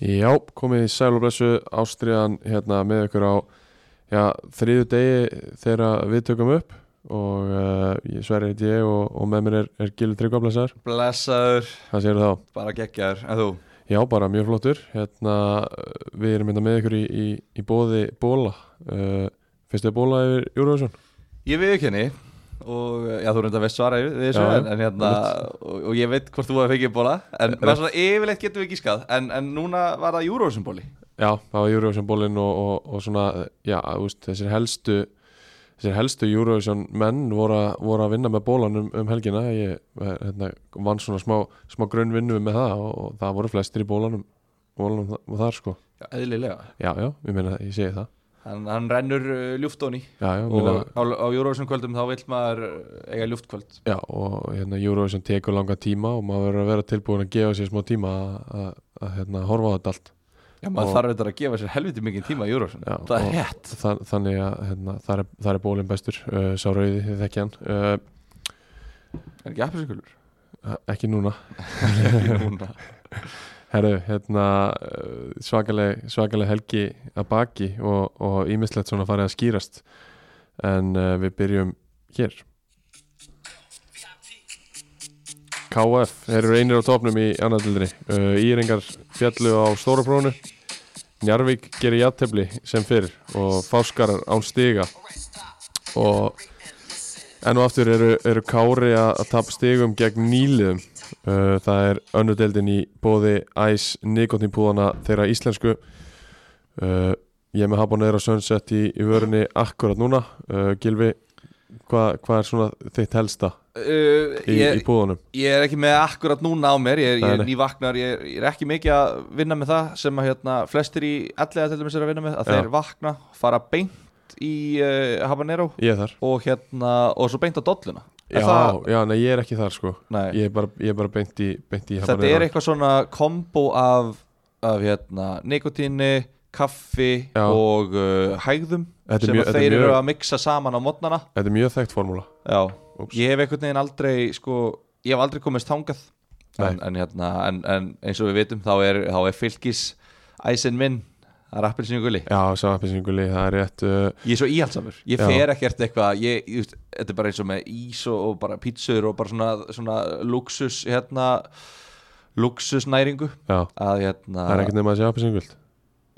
Já, komið í sæl og blessu Ástriðan hérna með ykkur á já, þriðu degi þegar við tökum upp og uh, ég sverri heiti ég og, og með mér er, er Gilur Tryggva blessaður, Blessaður, hvað segir þá? bara geggjaður, en þú? Já, bara mjög flottur hérna, uh, við erum hérna með ykkur í, í, í bóði bóla uh, fyrstu bóla yfir Júruvísson Ég við ekki henni og já, þú reyndar veist svara yfir þessu Já, en, en hérna, og, og ég veit hvort þú hefði fengið bóla en Rétt. það er svona yfirleitt getum við gískað en, en núna var það Eurovision bóli Já, það var Júruvísson bólinn og, og, og svona, já, úst, þessir helstu Þessir helstu Eurovision menn voru, að- voru að vinna með bólan um, um helgina ég eh, hérna, vann svona smá, smá grunnvinnu með það og, og það voru flestir í bólanum, bólanum þa- og þar sko Já, eðlilega Já, já, ég meina, ég segi það Hann, hann rennur uh, ljúftóni Já, já, ég og meina, á, á Eurovision kvöldum þá vill maður uh, eiga ljúftkvöld já og hérna, Eurovision tekur langa tíma og maður verður að vera tilbúin að gefa sér smá tíma að- að að, hérna, horfa á þetta allt Já, maður Og- þarf þetta að gefa sér helviti mikið tíma í Eurovision Já, Það og- er hett Þa- Þannig að hérna, þar, er, þar er bólin bestur uh, sá rauði, þið þekki hann uh, Er ekki appiskulur? ekki núna Þetta Herru, hérna svakaleg, svakaleg helgi að baki og, og ímislegt svona farið að skýrast en uh, við byrjum hér KF eru reynir á topnum í annaðildri uh, Íringar fjallu á Stóraprónu Njarvík gerir jattefli sem fyrr og Fáskarar án stiga og enn og aftur eru, eru Kári að að tapa stigum gegn nýliðum Uh, Það er önnudeldin í bóði æs nikotínpúðana þeirra íslensku uh, Ég er með Habanera Sunset í, í vörunni akkurat núna uh, Gilvi, hvað hva er svona þitt helsta uh, í, í púðanum? Ég er ekki með akkurat núna á mér, ég er, ég Nei, er nei. nývaknar, ég er, ég er ekki mikið að vinna með það sem að hérna, flestir í ellega til dæmis er að vinna með, að Já. þeir vakna, fara beint í uh, habanero Ég er þar og, hérna, og svo beint á dolluna. Er Já, það, já, nei, ég er ekki þar sko nei, Ég er bara, ég er bara beint í, beint í þetta er Habanera eitthvað svona kombo af, af hérna, nikotíni, kaffi Já. og uh, hægðum Þetta er sem mjög- að þetta er þeir eru mjög- að miksa saman á modnana. Þetta er mjög þekkt formúla Já, Úps. ég hef einhvern veginn aldrei sko, ég hef aldrei komist þangað Nei. en, en, hérna, en, en eins og við vitum þá er, þá er fylgis æsinn minn það er appelsinu gulli Já, samanpensinguli, það er rétt uh, ég er svo íhaldsamur, ég Já. fer ekkert eitthvað ég, ég, veist, þetta er bara eins og með ís og, og bara pítsur og bara svona, svona luxus hérna luxusnæringu Já, að hérna það er ekkert nema að sé apensingult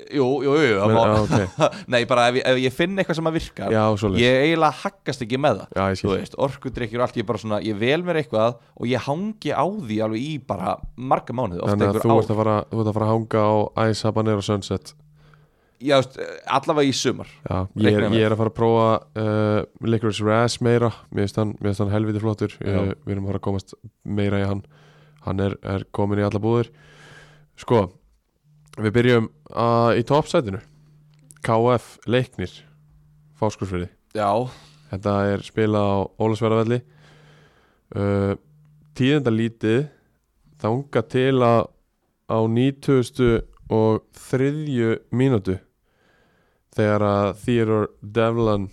jú, jú, jú, jú Men- má, já, nei, bara ef, ég- ef ég finn eitthvað sem að virka Já, svoleiðis. ég eiginlega haggast ekki með það Já, ég þú skil veist, orkudrykkjur og allt, ég bara svona, ég vel mér eitthvað og ég hangi á því alveg í bara marga mánuði, ofta Þannig að þú ert einhver ár að fara, þú ert að fara að hanga á æs Habanera Sunset Já, þú veist, allavega í sumar Já, ég er, Reikna með. ég er að fara að prófa uh, Licorice Razz meira mér finnst hann, mér finnst hann helviti flottur Já. uh, við erum að fara að komast meira í hann hann er, er komin í alla búðir sko, við byrjum uh, í topsætinu KF Leiknir Fáskursfriði, Já, þetta er spilað á Ólasverðavelli uh, tíðendalítið þanga til að á 90. og þriðju mínútu þegar að Theodore Devlin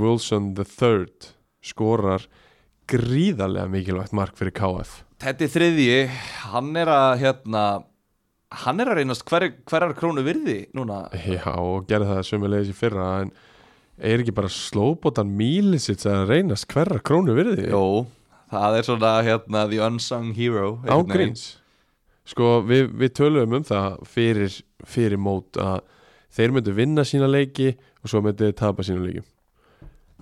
Wilson III skorar gríðarlega mikilvægt mark fyrir KF þetta er þriðji hann er að, hérna hann er að reynast hver, hverjar krónu virði núna, Já, og gerði það sömulegis í fyrra en er ekki bara slóbotan mílisits að reynast hverra krónu virði jú það er svona, hérna, the unsung hero einhvern veginn. ágríns Sko, við, við töluðum um það fyrir, fyrir mót að þeir myndu vinna sína leiki og svo myndu þeir tapa sína leiki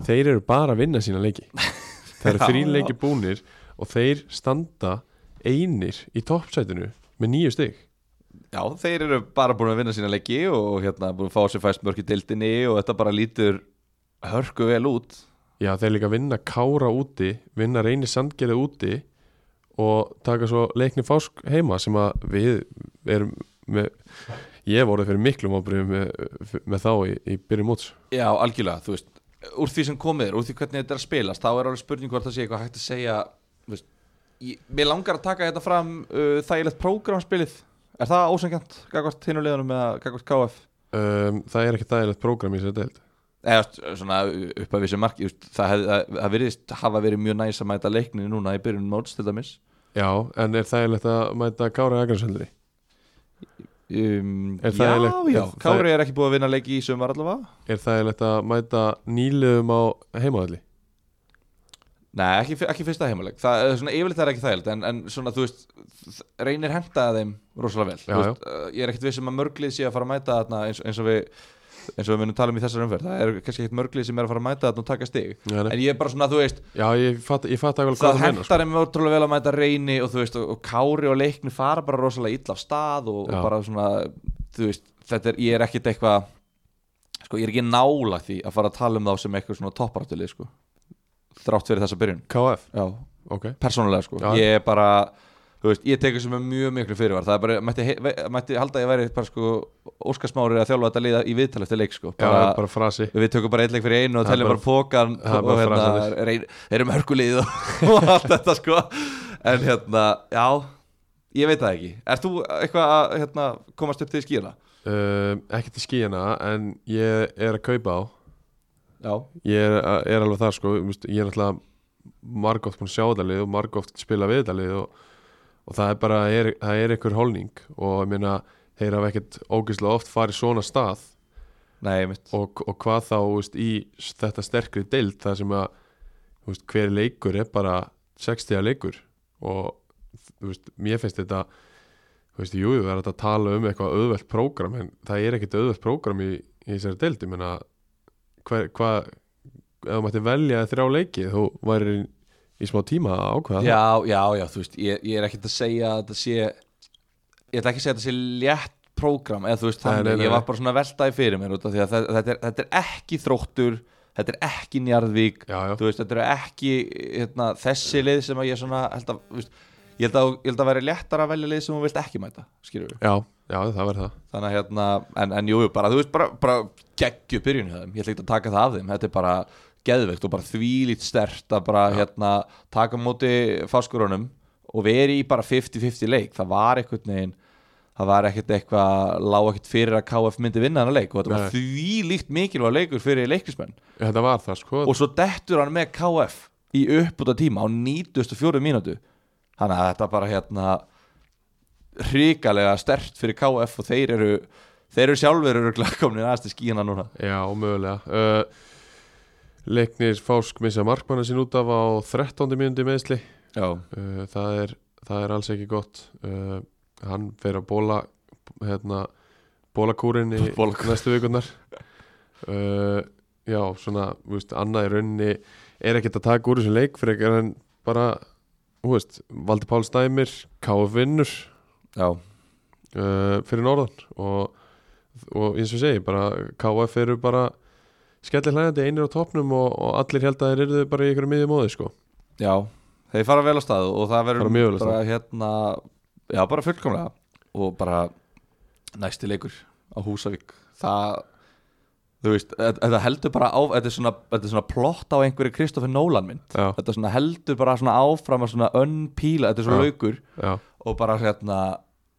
Þeir eru bara að vinna sína leiki Það eru Já, þrín já. leiki búnir og þeir standa einir í toppsætinu með nýju stig Já, þeir eru bara búin að vinna sína leiki og hérna búin að fá sér fæst mörki deildinni og þetta bara lítur hörku vel út Já, þeir líka vinna Kára úti vinna reyni sandgerði úti og taka svo leikni fásk heima sem að við erum með, ég hef orðið fyrir miklum ábyrjum með, með þá í, í byrjum móts Já, algjörlega, þú veist Úr því sem komið er, úr því hvernig þetta er að spilast þá er alveg spurning hvort það sé eitthvað hægt að segja þú veist, ég, Mér langar að taka þetta fram uh, þægilegt prógramspilið Er það ósengjant, gagvart hinulegunum eða gagvart KF? um, það er ekki dægilegt prógram í þessari deild Eða þú veist, svona upp að vissu marki þú veist, það, hef, það, það virðist hafa verið mjög næs að mæta leikninu núna í byrjunum móts til dæmis já, en er dægilegt að mæta Kára Akransöldri um, Er Já, þægilegt- já, er- Kári er ekki búið að vinna leiki í sömur allavega Er það eilegt að mæta nýliðum á heimaðalli? Nei, ekki, ekki fyrsta heimaleg Það er svona yfirleitt það er ekki þægilegt En, en svona, þú veist, þ- reynir hentaði þeim rosalega vel Já, Þú veist, uh, Ég er ekkit viss um að mörglið sé að fara að mæta þarna eins, eins og við eins og við munum tala um í þessar umferð Það er kannski ekkit mörglið sem er að fara að mæta þarna og taka stig Já, nei. En ég er bara svona, þú veist Já, ég fatt, ég fatt ekki alveg Það hvað það meina sko. hentar þeim ótrúlega vel að mæta reyni og þú veist, og, og kári og leikni fara bara rosalega illa af stað og, Já. og bara svona, þú veist, þetta er, ég er ekkit eitthvað sko, ég er ekki nála því að fara að tala um þá sem eitthvað svona topparáttilið, sko þrátt fyrir þessa byrjun, KF, já, ok persónulega sko Já. ég er bara, þú veist, ég tekur sem er mjög miklu fyrirvar, það er bara, mætti, he- ve- mætti halda að ég væri bara sko, óskarsmári að þjálfa þetta liða í viðtal eftir leik sko, Já, bara, bara frasi við tökum bara eitthvað fyrir einu og Það er teljum bara bara- pókan það er og bara hérna, frasanir. reyn, erum hörkulið og, og allt þetta sko en hérna, já ég veit það ekki, ert þú eitthvað að hérna, komast upp til skýra? um, Ekki til skíjana, en ég er að kaupa á Já, Ég er, er alveg þar sko þú veist, Ég er náttúrulega margóft búin að sjá þetta lið og margóft spila við þetta lið og, og það er bara, er, það er einhver holning og ég meina, þeir hafa ekkert ógeðslega oft farið svona stað nei, mitt og, og hvað þá þú veist, í s- þetta sterkri deild það sem að þú veist, hver leikur er bara 60 leikur og þú veist, mér finnst þetta þú veist, jú, það er hægt að tala um eitthvað auðvelt prógram en það er ekkert auðvelt prógram í, í þessari deild ég meina hver- hvað ef þú mætti velja þrjá leiki þú væri í smá tíma að ákveða það. Já, já, já, þú veist, ég, ég er ekkert að segja að þetta sé ég ætla ekki að segja að þetta sé létt prógram eða þú veist, Nei, þannig, nei, nei. ég var bara svona veltaði fyrir mér út af því að það- þetta er, þetta er ekki þróttur þetta er ekki njarðvík já, já, þú veist, þetta eru ekki hérna, þessi lið sem að ég svona held að, þú veist, ég held að, ég held að vera léttara að velja lið sem hún vilt ekki mæta, skilur við já, já, það verður það þannig að hérna, en, en jú, jú, bara þú veist bara, bara geggju byrjun hjá þeim, ég ætla ekki að taka það af þeim þetta er bara geðveikt og bara þvílít stert að bara hérna taka á móti fáskurunum og veri í bara 50-50 leik, það var einhvern veginn það var ekkert eitthvað lág ekkert fyrir að KF myndi vinna þennan leik og þetta var Nei. þvílíkt mikilvæg leikur fyrir leiklismenn þetta var það sko og svo dettur hann með KF í uppbúta tíma á 94 mínútu þannig að þetta bara hérna hrikalega stert fyrir KF og þeir eru þeir eru sjálfur eru glakkomni aðeins til skíina núna Já, mögulega uh, Leiknir Fásk missa markmanna sín út af á 13. mínúti meðsli já, uh, það, er, það er alls ekki gott uh, Hann fer að bóla hérna, bólakúrin í Bólakúr. næstu vikunar uh, Já, svona þú veist, annað í rauninni er ekkert að taka úr þessum leik frekar en bara þú veist, Valdi Pál Stæmir KF vinnur já, uh, fyrir norðan og, og eins og ég segi, bara KF eru bara skellir hlæðandi einir á topnum og, og allir held að þeir eru bara í ykkur miðjum móði sko. já þeir fara vel á stað og það verður Fara mjög vel af bara hérna já, bara fullkomlega og bara næsti leikur á Húsavík það þú veist, þetta- þetta heldur bara á þetta er svona, þetta er svona plott á einhverju Kristoffer Nólan mynd Já, þetta svona heldur bara svona áfram að svona önpíla, þetta er svo Já. laukur já, og bara hérna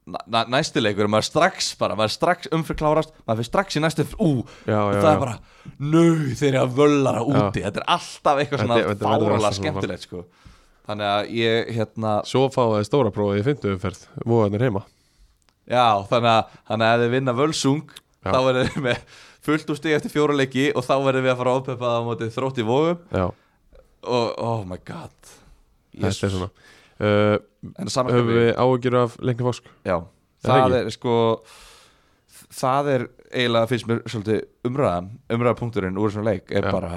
næ- næ- næsti leikur, maður strax bara maður strax umfyrklárast, maður fyrir strax í næstu umferð, ú, já, og já, það er já. bara nöð þeir eru að völlara úti þetta er alltaf eitthvað svona Þetta- þetta verður fárala alltaf svona. skemmtilegt sko. þannig að ég hérna Svo fáið stóra prófið í fymtu umferð Vóðanir heima já, þannig að, þannig að ef þið vinna völsung Já. þá verður við með fullt úr stig eftir fjóra leiki og þá verður við að fara að oppepa það á móti þrótt í vógum Já, og oh my god þetta er svona uh, en saman Höfum við áhugjur af lengni fósk Já, það það ekki? er sko það er eiginlega finnst mér svolítið umræðan, umræðapunkturinn úr svona leik er Já. bara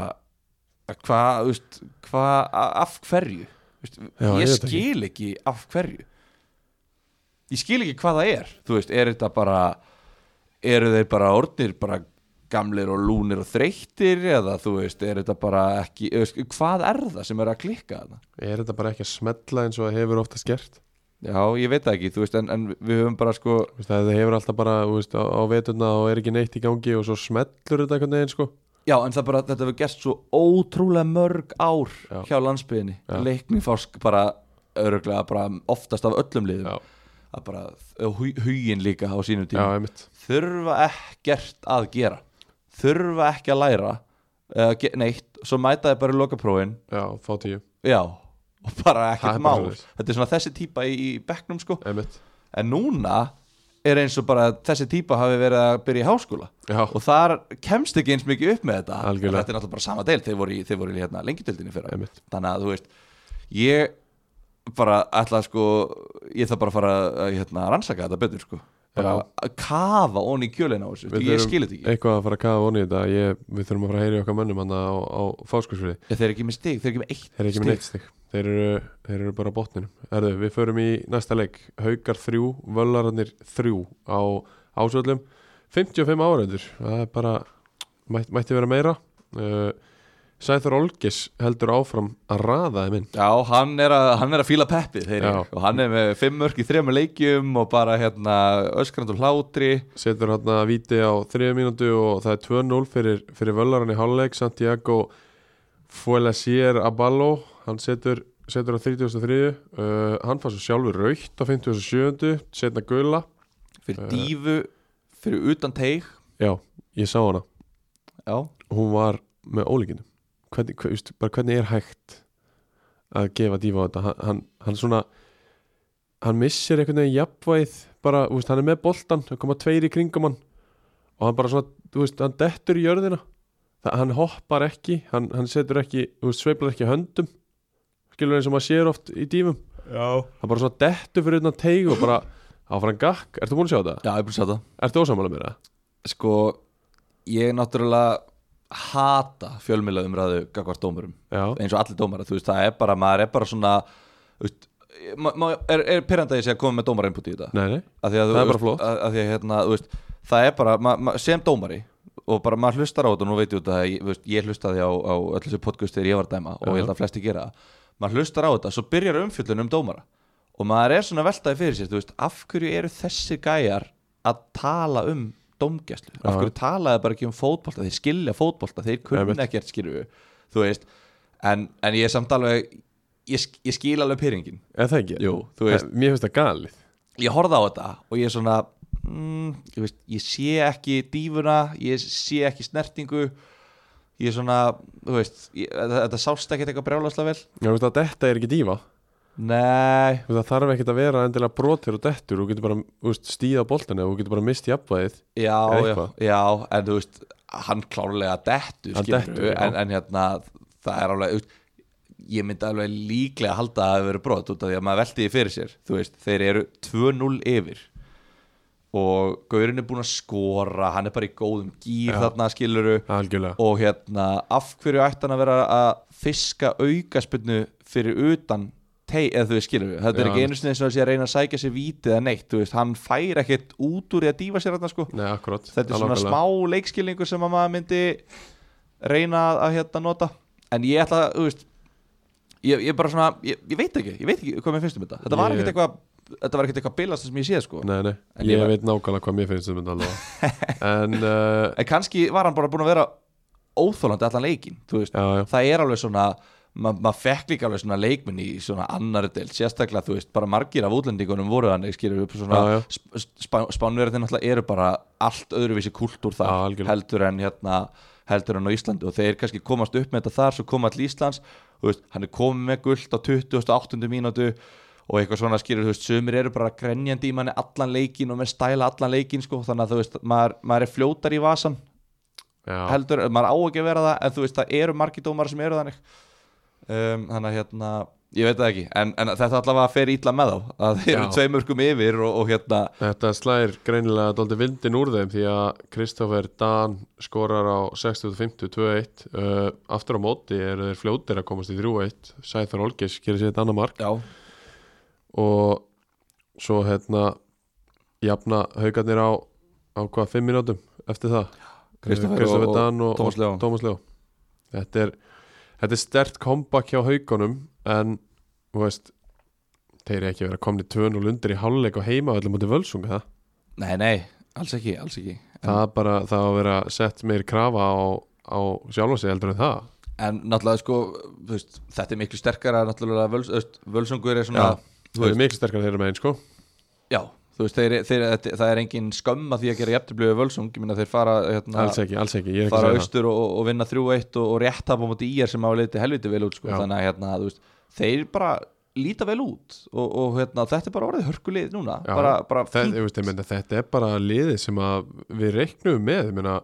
að hvað, þú veist, hvað, a- af hverju Þú veist, Já, ég ég veit ekki. skil ekki af hverju ég skil ekki hvað það er þú veist, er þetta bara eru þeir bara orðnir bara gamlir og lúnir og þreyttir eða þú veist, er þetta bara ekki þú veist, hvað er það sem er að klikka þarna Er þetta bara ekki að smetla eins og það hefur oftast gert já, ég veit það ekki, þú veist, en, en við höfum bara sko, Þú veist, Það hefur alltaf bara þú veist, á, á veturna og er ekki neitt í gangi og svo smetlur þetta einhvern veginn sko. Já, en það bara, þetta hefur gert svo ótrúlega mörg ár Já. hjá landsbyðinni Já. Leikning fórsk bara öruglega bara oftast af öllum liðum Já, að bara, og hu- huginn líka á sínum já, tíma einmitt þurfa ekkert að gera þurfa ekki að læra uh, neitt, svo mæta þið bara í lokaprófin Já, fá tíu, já, og bara Það er ekkert bara mál svoleiðis. þetta er svona þessi típa í, í bekknum sko einmitt en núna er eins og bara að þessi típa hafi verið að byrja í háskóla Já, og þar kemst ekki eins mikið upp með þetta Algjörlega. En þetta er náttúrulega bara sama deil þeir voru í, þeir voru í hérna, lengjadöldinni fyrra Einmitt. þannig að þú veist ég bara ætla að sko ég þarf bara að fara að hérna, rannsaka þetta betur sko bara Já. að kafa onni í kjölinn á þessu Við því ég þurfum skil þetta ekki eitthvað að fara að kafa voni í þetta ég, Við þurfum að fara að heyra í okkar mönnum hann á, á fáskursfriði ég, þeir eru ekki með stig, þeir eru ekki með eitt Þeir eru ekki með neitt stig Þeir eru, þeir eru bara á botninum Herðu, Við förum í næsta leik Haukar þrjú, völlararnir þrjú á ásöldum 55 áraður Það er bara, mætti, mætti vera meira uh, Sæþur Olgis heldur áfram að raða þeim inn Já, hann er að, hann er að fíla peppi þeir, Já. og hann er með fimm mörk í þrejum leikjum og bara hérna öskrand og hlátri setur hann að víti á þriðu mínútu og það er 2-0 fyrir, fyrir völlarann í hálfleik Santiago Fuelasier Abalo hann setur, setur á 33 uh, hann fann svo sjálfur raukt á 57 setna gula fyrir Eh. dífu, fyrir utan teig já, ég sá hana, Já, hún var með ólíkinu hvernig, hver, just, bara hvernig er hægt að gefa dífa á þetta hann, hann, hann svona hann missir einhvern veginn jafnvæð bara, þú veist, hann er með boltan, það koma tveir í kringum hann og hann bara svona, þú veist, hann dettur í jörðina það, hann hoppar ekki, hann, hann setur ekki þú veist, sveiflar ekki höndum skilur eins og maður sér oft í dífum Já hann bara svona dettur fyrir utan teig og bara áfram gakk, ertu búin að sjá þetta? já, ég er búin að sjá það Ertu ósamála mér það? Sko, ég náttúrulega hata fjölmiðla umræðu gagvart dómurum, Já, eins og allir dómara þú veist, það er bara, maður er bara svona þú veist, ma ma er, er pyrrandi að ég sé að koma með dómara input í þetta nei, nei, að Það að, þú er bara veist, flott. að, að því að, hérna, þú veist, það er bara, ma ma sem dómari og bara maður hlustar á þetta, nú veit ég út að ég, þú veist, ég hlustaði á, á öll þessu podcast þegar ég var að dæma og ég held að flesti gera það maður hlustar á þetta, svo byrjar umfjöllun um dómara og maður er svona veltaði fyrir sér þú veist, af hverju eru þessir gæjar að tala um dómgæslu af hverju talaði bara ekki um fótbolta þeir skilja fótbolta, þeir kunna Einmitt. ekkert skilju þú veist, en, en ég er samt alveg ég, sk- ég skil alveg pyrringin er það ekki? Jú, þú veist- Eh, Mér finnst það galið ég horfði á þetta og ég er svona mm, ég, veist, ég sé ekki dífuna ég sé ekki snertingu ég er svona þú veist, ég, þetta þetta sást ekkert eitthvað brjálaslega vel Já, þú veist að þetta er ekki dífa Þú nei, veist að þarf ekkert að vera endilega brotir og dettur Þú getur bara þú veist, stíða boltinu Þú getur bara mist jafnvæðið já, Eða já, eitthvað. já en þú veist, hann klárlega dettur, Hann skilurðu, dettur, já. en, en hérna, það er alveg þú veist, ég myndi alveg líklega halda að það hafi verið brot út af því að maður velti því fyrir sér þú veist, þeir eru 2-0 yfir og Gaurin er búin að skora hann er bara í góðum gýr þarna skiluru Algjörlega og hérna af hverju ætti hann að vera að fiska aukaspinnu fyrir utan tei, eða þú veist skilur við, þetta er Já, ekki einu sinni eins og þessi að reyna að sækja sér vítið eða neitt, þú veist, hann fær ekkert út úr í að dífa sér þarna sko Nei, akkurat þetta er svona Nákvæmlega. smá leikskilningur sem að maður myndi reyna að, að hérna nota en ég ætla að, þú veist ég, ég bara svona, ég, ég veit ekki ég veit ekki hvað mér finnst um þetta, þetta Ég- var ekkert eitthvað þetta var ekkert eitthvað bilast sem ég séð sko Nei, nei, En ég, ég var- veit nákvæmlega hvað mér finnst um þetta alveg En, uh, en kannski var hann bara búin að vera óþólandi allan leikin, þú veist já, já, það er alveg svona ma- maður fekk líka alveg svona leikminn í svona annar del, sérstaklega þú veist bara margir af útlendingunum voru þannig skilur upp Já, svona já. sp sp spánverðin alltaf eru bara allt öðruvísi kultúr Já, þar algjörlega. heldur en hérna heldur en á Íslandi og þeir kannski komast upp með þetta þar svo koma allir Íslands þú veist, hann er komið með guld á 28. mínútu og eitthvað svona skilur, þú veist, sumir eru bara grenjandi í manni allan leikin og með stæla allan leikin sko, þannig að þú veist, maður, maður er fljótar í vasan já. heldur, maður á ekki að vera það en þú veist, það eru margir dómar sem eru þannig um, þannig að hérna ég veit það ekki, en, en þetta allavega fer ítla með þá að þeir eru Já. tveim örkum yfir og, og hérna, Þetta slæðir greinilega dóldi vindin úr þeim Því að Kristoffer Dan skorar á 60-50-2-1 uh, Aftur á móti eru þeir fljótir að komast í 3-1 Sæþur Olgis gerir sér þetta annar mark já, og svo hérna jafna haugarnir á, á hvað, fimm mínútum eftir það Kristoffer og- og Dan og, Tómas Leó. og Tómas Leó þetta er, þetta er stert comeback hjá haugunum en þú veist þeir eru ekki að vera komni 2-0 undir í háluleik og heima öllum mútið völsunga það nei, nei alls ekki, alls ekki en, það er bara, það á að vera sett meir krafa á, á sjálfansi heldur en það en náttúrulega sko þú veist, þetta er miklu sterkara náttúrulega völs, þú veist, völsungur er svona Já. það er miklu sterkar þeirra með einn sko já, þú veist, þeir, þeir, þetta- það er engin skömm að því að gera jæftiblöðu völsung ég minna þeir fara hérna, alls ekki, alls ekki, ég er ekki að fara segja austur og, og vinna 3-1 og, og rétt tapa á móti IR sem hafa leitið helviti vel út sko. Já. þannig að hérna, þú veist, þeir bara líta vel út og, og hérna, þetta er bara orðið hörkulið núna Já, bara, bara þetta, ég veist, ég meina, þetta er bara liðið sem að við reiknum með ég meina,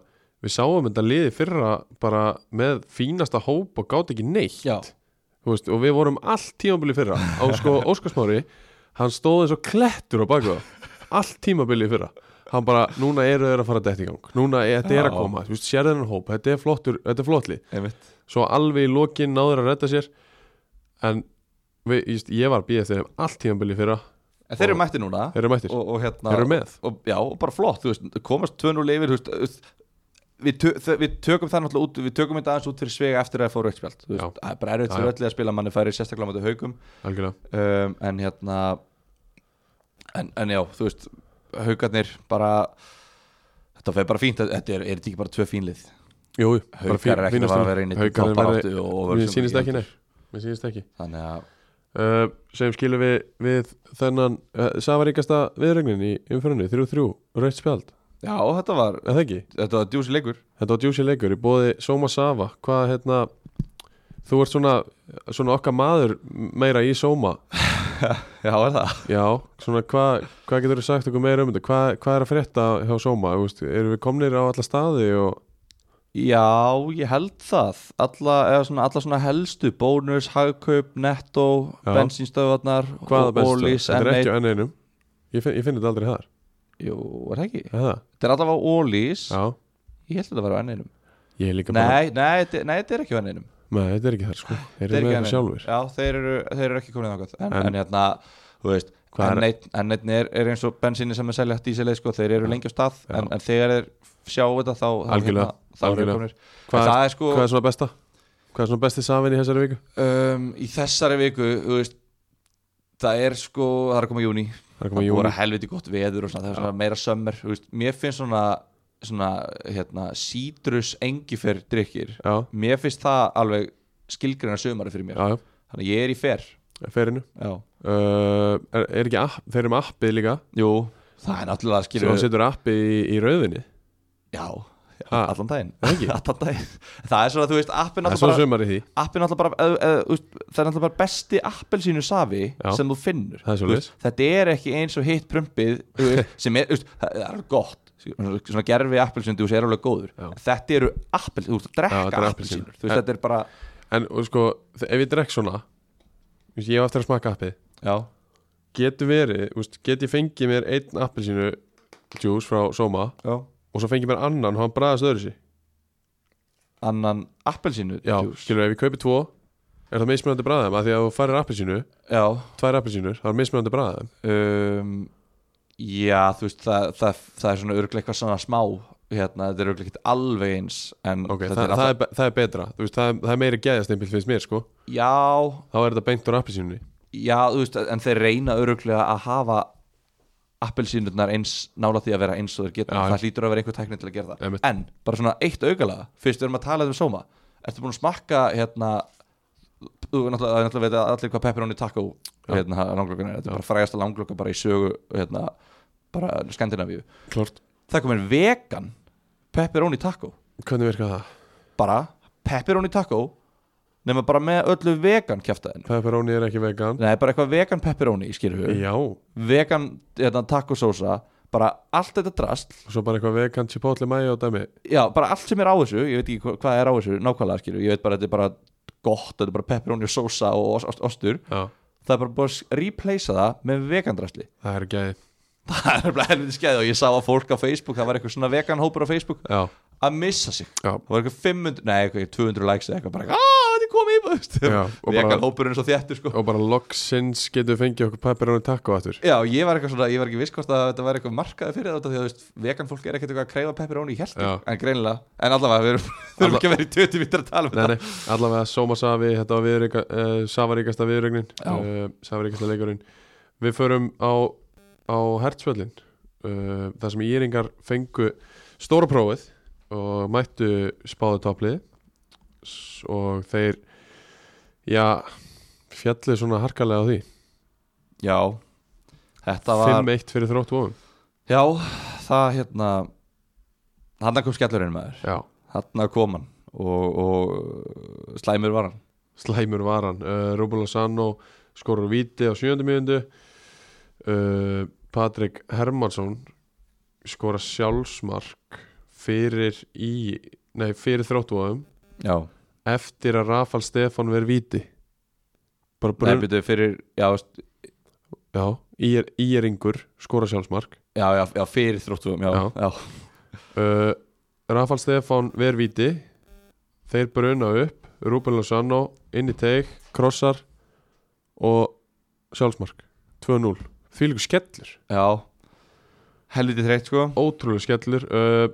við sáum þetta liðið fyrra bara með fínasta hóp og gátt ekki neitt Já. Þú veist, og við vorum allt tímabili fyrra á sko Óskarsmári, hann stóði eins og klettur á baku það allt tímabili fyrra hann bara, núna eru þeir að fara þetta í gang núna er, þetta er að Já. koma, þú veist, sér þennan hóp þetta er flottur, þetta er flottlið einmitt, svo alveg í lokin náður að redda sér en við, ég, ég var býð eftir þeim allt tímabili fyrra en þeir Og- eru mætti núna þeir eru mættir, og, og hérna þeir eru með og, já, og bara flott, þú veist, komast tvönu leifir þú veist, þú veist, við, tö, þ- við tökum það náttúrulega út, við tökum þetta aðeins út fyrir svega eftir að það fóru eitthvað, þú Já. veist, það er bara erfitt Já, fyrir já. öllu að spila manni færi sérstaklega á þetta haugum algjörlega um, en hérna en, en já, þú veist haugarnir bara þetta fer bara fínt, þetta er, er þetta ekki bara tvö fínlið Jú, jú, bara fín- haugar er ekki að fínasta fara lið. að vera inn í Haukar er verið- toppbaráttu og- og Mér verðum sínist sem ekki nær Mér sínist ekki þannig að, uh, Sem skilum við við þennan uh, Safaríkasta viðregnin í umfyrunni 3-3, rautt spjald já, þetta var Eða ekki? þetta var djúsi leikur Þetta var djúsi leikur í bóði Soma Safa Hvað hérna Þú ert svona, svona okkar maður meira í Soma já, er það Já, svona hvað hva getur þú sagt okkur meira um þetta? Hvað hva er að frétta hjá Soma? Þú veist, Erum við komnir á alla staði og Já, ég held það Alla, eða svona, alla svona helstu Bónus, hagkaup, netto Já. Bensínstöðvarnar hvaða bestu? Ólís, Þetta er ekki á M1 N1 Ég finn, ég finn þetta aldrei þar Jú, er það ekki? Er Það, Þetta er allavega Ólís já Ég held að þetta var á enninum Ég er líka bara Nei, nei, þetta- nei, þetta er ekki á um. enninum Nei, þetta er ekki þar sko Þeir eru með þetta sjálfur Já, þeir eru, þeir eru ekki komin þangað En, En- en hérna, þú veist Hvað er- N1 er, er eins og bensíni sem er selja dísileg sko, þeir eru lengi á stað Já. en, en þegar þeir sjá þetta þá þá, Algjörlega, hérna, þá eru þeir algjörlega. komnir En Hvað, það er sko hvað er svona besta? Hvað er svona besti safin í þessari viku? um, í þessari viku þú veist, það er sko það er að koma júni, Það er það komið er júni að helviti gott veður og svona, það er svona meira sömmer þú veist, mér finnst svona, svona hérna, sítrus engifer drikkir Já, mér finnst það alveg skilgreina sömari fyrir mér já, já, þannig að ég er í fer ferinu já. uh, er, er ekki app, þeir eru með appið líka Jú, það er náttúrulega Svo skilur setur appið í, í rauðinni já, Ha? allan daginn Ekki? allan daginn, það er svona, þú veist appin Það er svona náttúrulega bara, sumar í því appin náttúrulega bara eð, eð, eð, það er náttúrulega bara besti appelsínu safi Já. sem þú finnur Það er Þú veist, svolítið þetta er ekki eins og hitt prumpið þú veist, sem er, þú veist, það það er alveg gott Svona- svona gerfi appelsinu, þú veist, er alveg góður Já. þetta eru appelsinu, þú veist, að Já, þetta drekka eru appelsinu appelsínur. þú veist, þetta er bara, En og sko, þ- ef ég drekk svona þú veist, Ég hef eftir að smaka appið já, Getur verið, þú veist, get ég fengið mér einn appelsínu Juice frá Soma já Og svo fengið mér annan og hann bræðast öðru sér annan appelsinu Já, juice. skilur, ef ég kaupi tvo Er það mismunandi bræðum að því að þú farir appelsínu já, Tvær appelsínur, það er mismunandi bræðum um, já þú veist, það, það, það er svona örgleik eitthvað svona smá, hérna, þetta er örgleik ekkert alveg eins, en Ok, það, þetta það, er alltaf, er, be- það er betra Þú veist, það, er, það er meiri gæðastimpill finnst mér sko já, Þá er þetta beint úr appelsínunni já, þú veist, en þeir reyna örglega að hafa appelsínurnar eins nála því að vera eins og þeir geta, Já, já. það hlýtur að vera einhver tækni til að gera það Einmitt. en bara svona eitt augalega fyrst við erum að tala um sóma ertu búin að smakka hérna þú náttúrulega, það er náttúrulega veit að allir hvað pepperoni taco Já. hérna langlokan er, þetta er bara frægasta langloka bara í sögu hérna, bara Skandinavíu Klart það komin vegan pepperoni taco Hvernig virkar það? bara pepperoni taco nema bara með öllu vegan kjæftaðinu Pepperoni er ekki vegan Nei, bara eitthvað vegan pepperoni, skilur við Já, og vegan hérna, tacosósa bara allt þetta drast svo bara eitthvað vegan chipotle mayo dæmi já, bara allt sem er á þessu, ég veit ekki hva- hvað er á þessu nákvæmlega skilju, ég veit bara að þetta er bara gott, þetta er bara pepperoni og sósa og os- ost, ostur Já, það er bara búið að s- replacea það með vegan drastli það er gæði það er bara helviti skeið og ég sá að fólk á Facebook það var eitthvað svona vegan hópur á Facebook Já, að missa sig, já, það var eitthvað 500 nei, eitthvað 200 likes eða eitthvað bara aaa, þetta er komið í já maður Og vegan bara, hópurinn er svo þéttur sko og bara loksins getur við fengið okkur pepperoni taco aftur Já, ég var eitthvað svona, ég var ekki viss hvort að þetta var eitthvað markaði fyrir þetta því að þú veist, vegan fólk er ekkert eitthvað að kreyfa pepperoni í helti, Já. en greinilega, en allavega við erum, við erum Alla- ekki að vera í 20 mítur að tala um Nei, þetta nei, allavega Soma Savi, þetta var viðreika, uh, Savaríkasta viðregnin Já. uh, Savaríkasta leikurinn Við förum á, á hertsvöllin uh, þar sem íringar fengu stóra prófið og mættu spáðu topplið og þeir já, fjallu svona harkalega á því Já, þetta var 5-1 fyrir þrótt vofum Já, það hérna hann kom skellurinn maður Já, hann kom hann og, og slæmur var hann slæmur var hann uh, Rúbul Eh, Lozano skorur víti á sjöndu mínundu uh, Patrik Hermansson skora sjálfsmark fyrir í nei, fyrir þróttúaðum Já, eftir að Rafal Stefán veri víti bara Brun... brun byrju fyrir já, veist, já, ír, íringur skora sjálfsmark já, já, já, fyrir þróttum já, Já. já. uh, Rafal Stefán ver víti þeir bruna upp Rúben Lozano inn í teig krossar og sjálfsmark 2-0 þvílíku skellur já. Helviti þreytt sko ótrúlega skellur uh,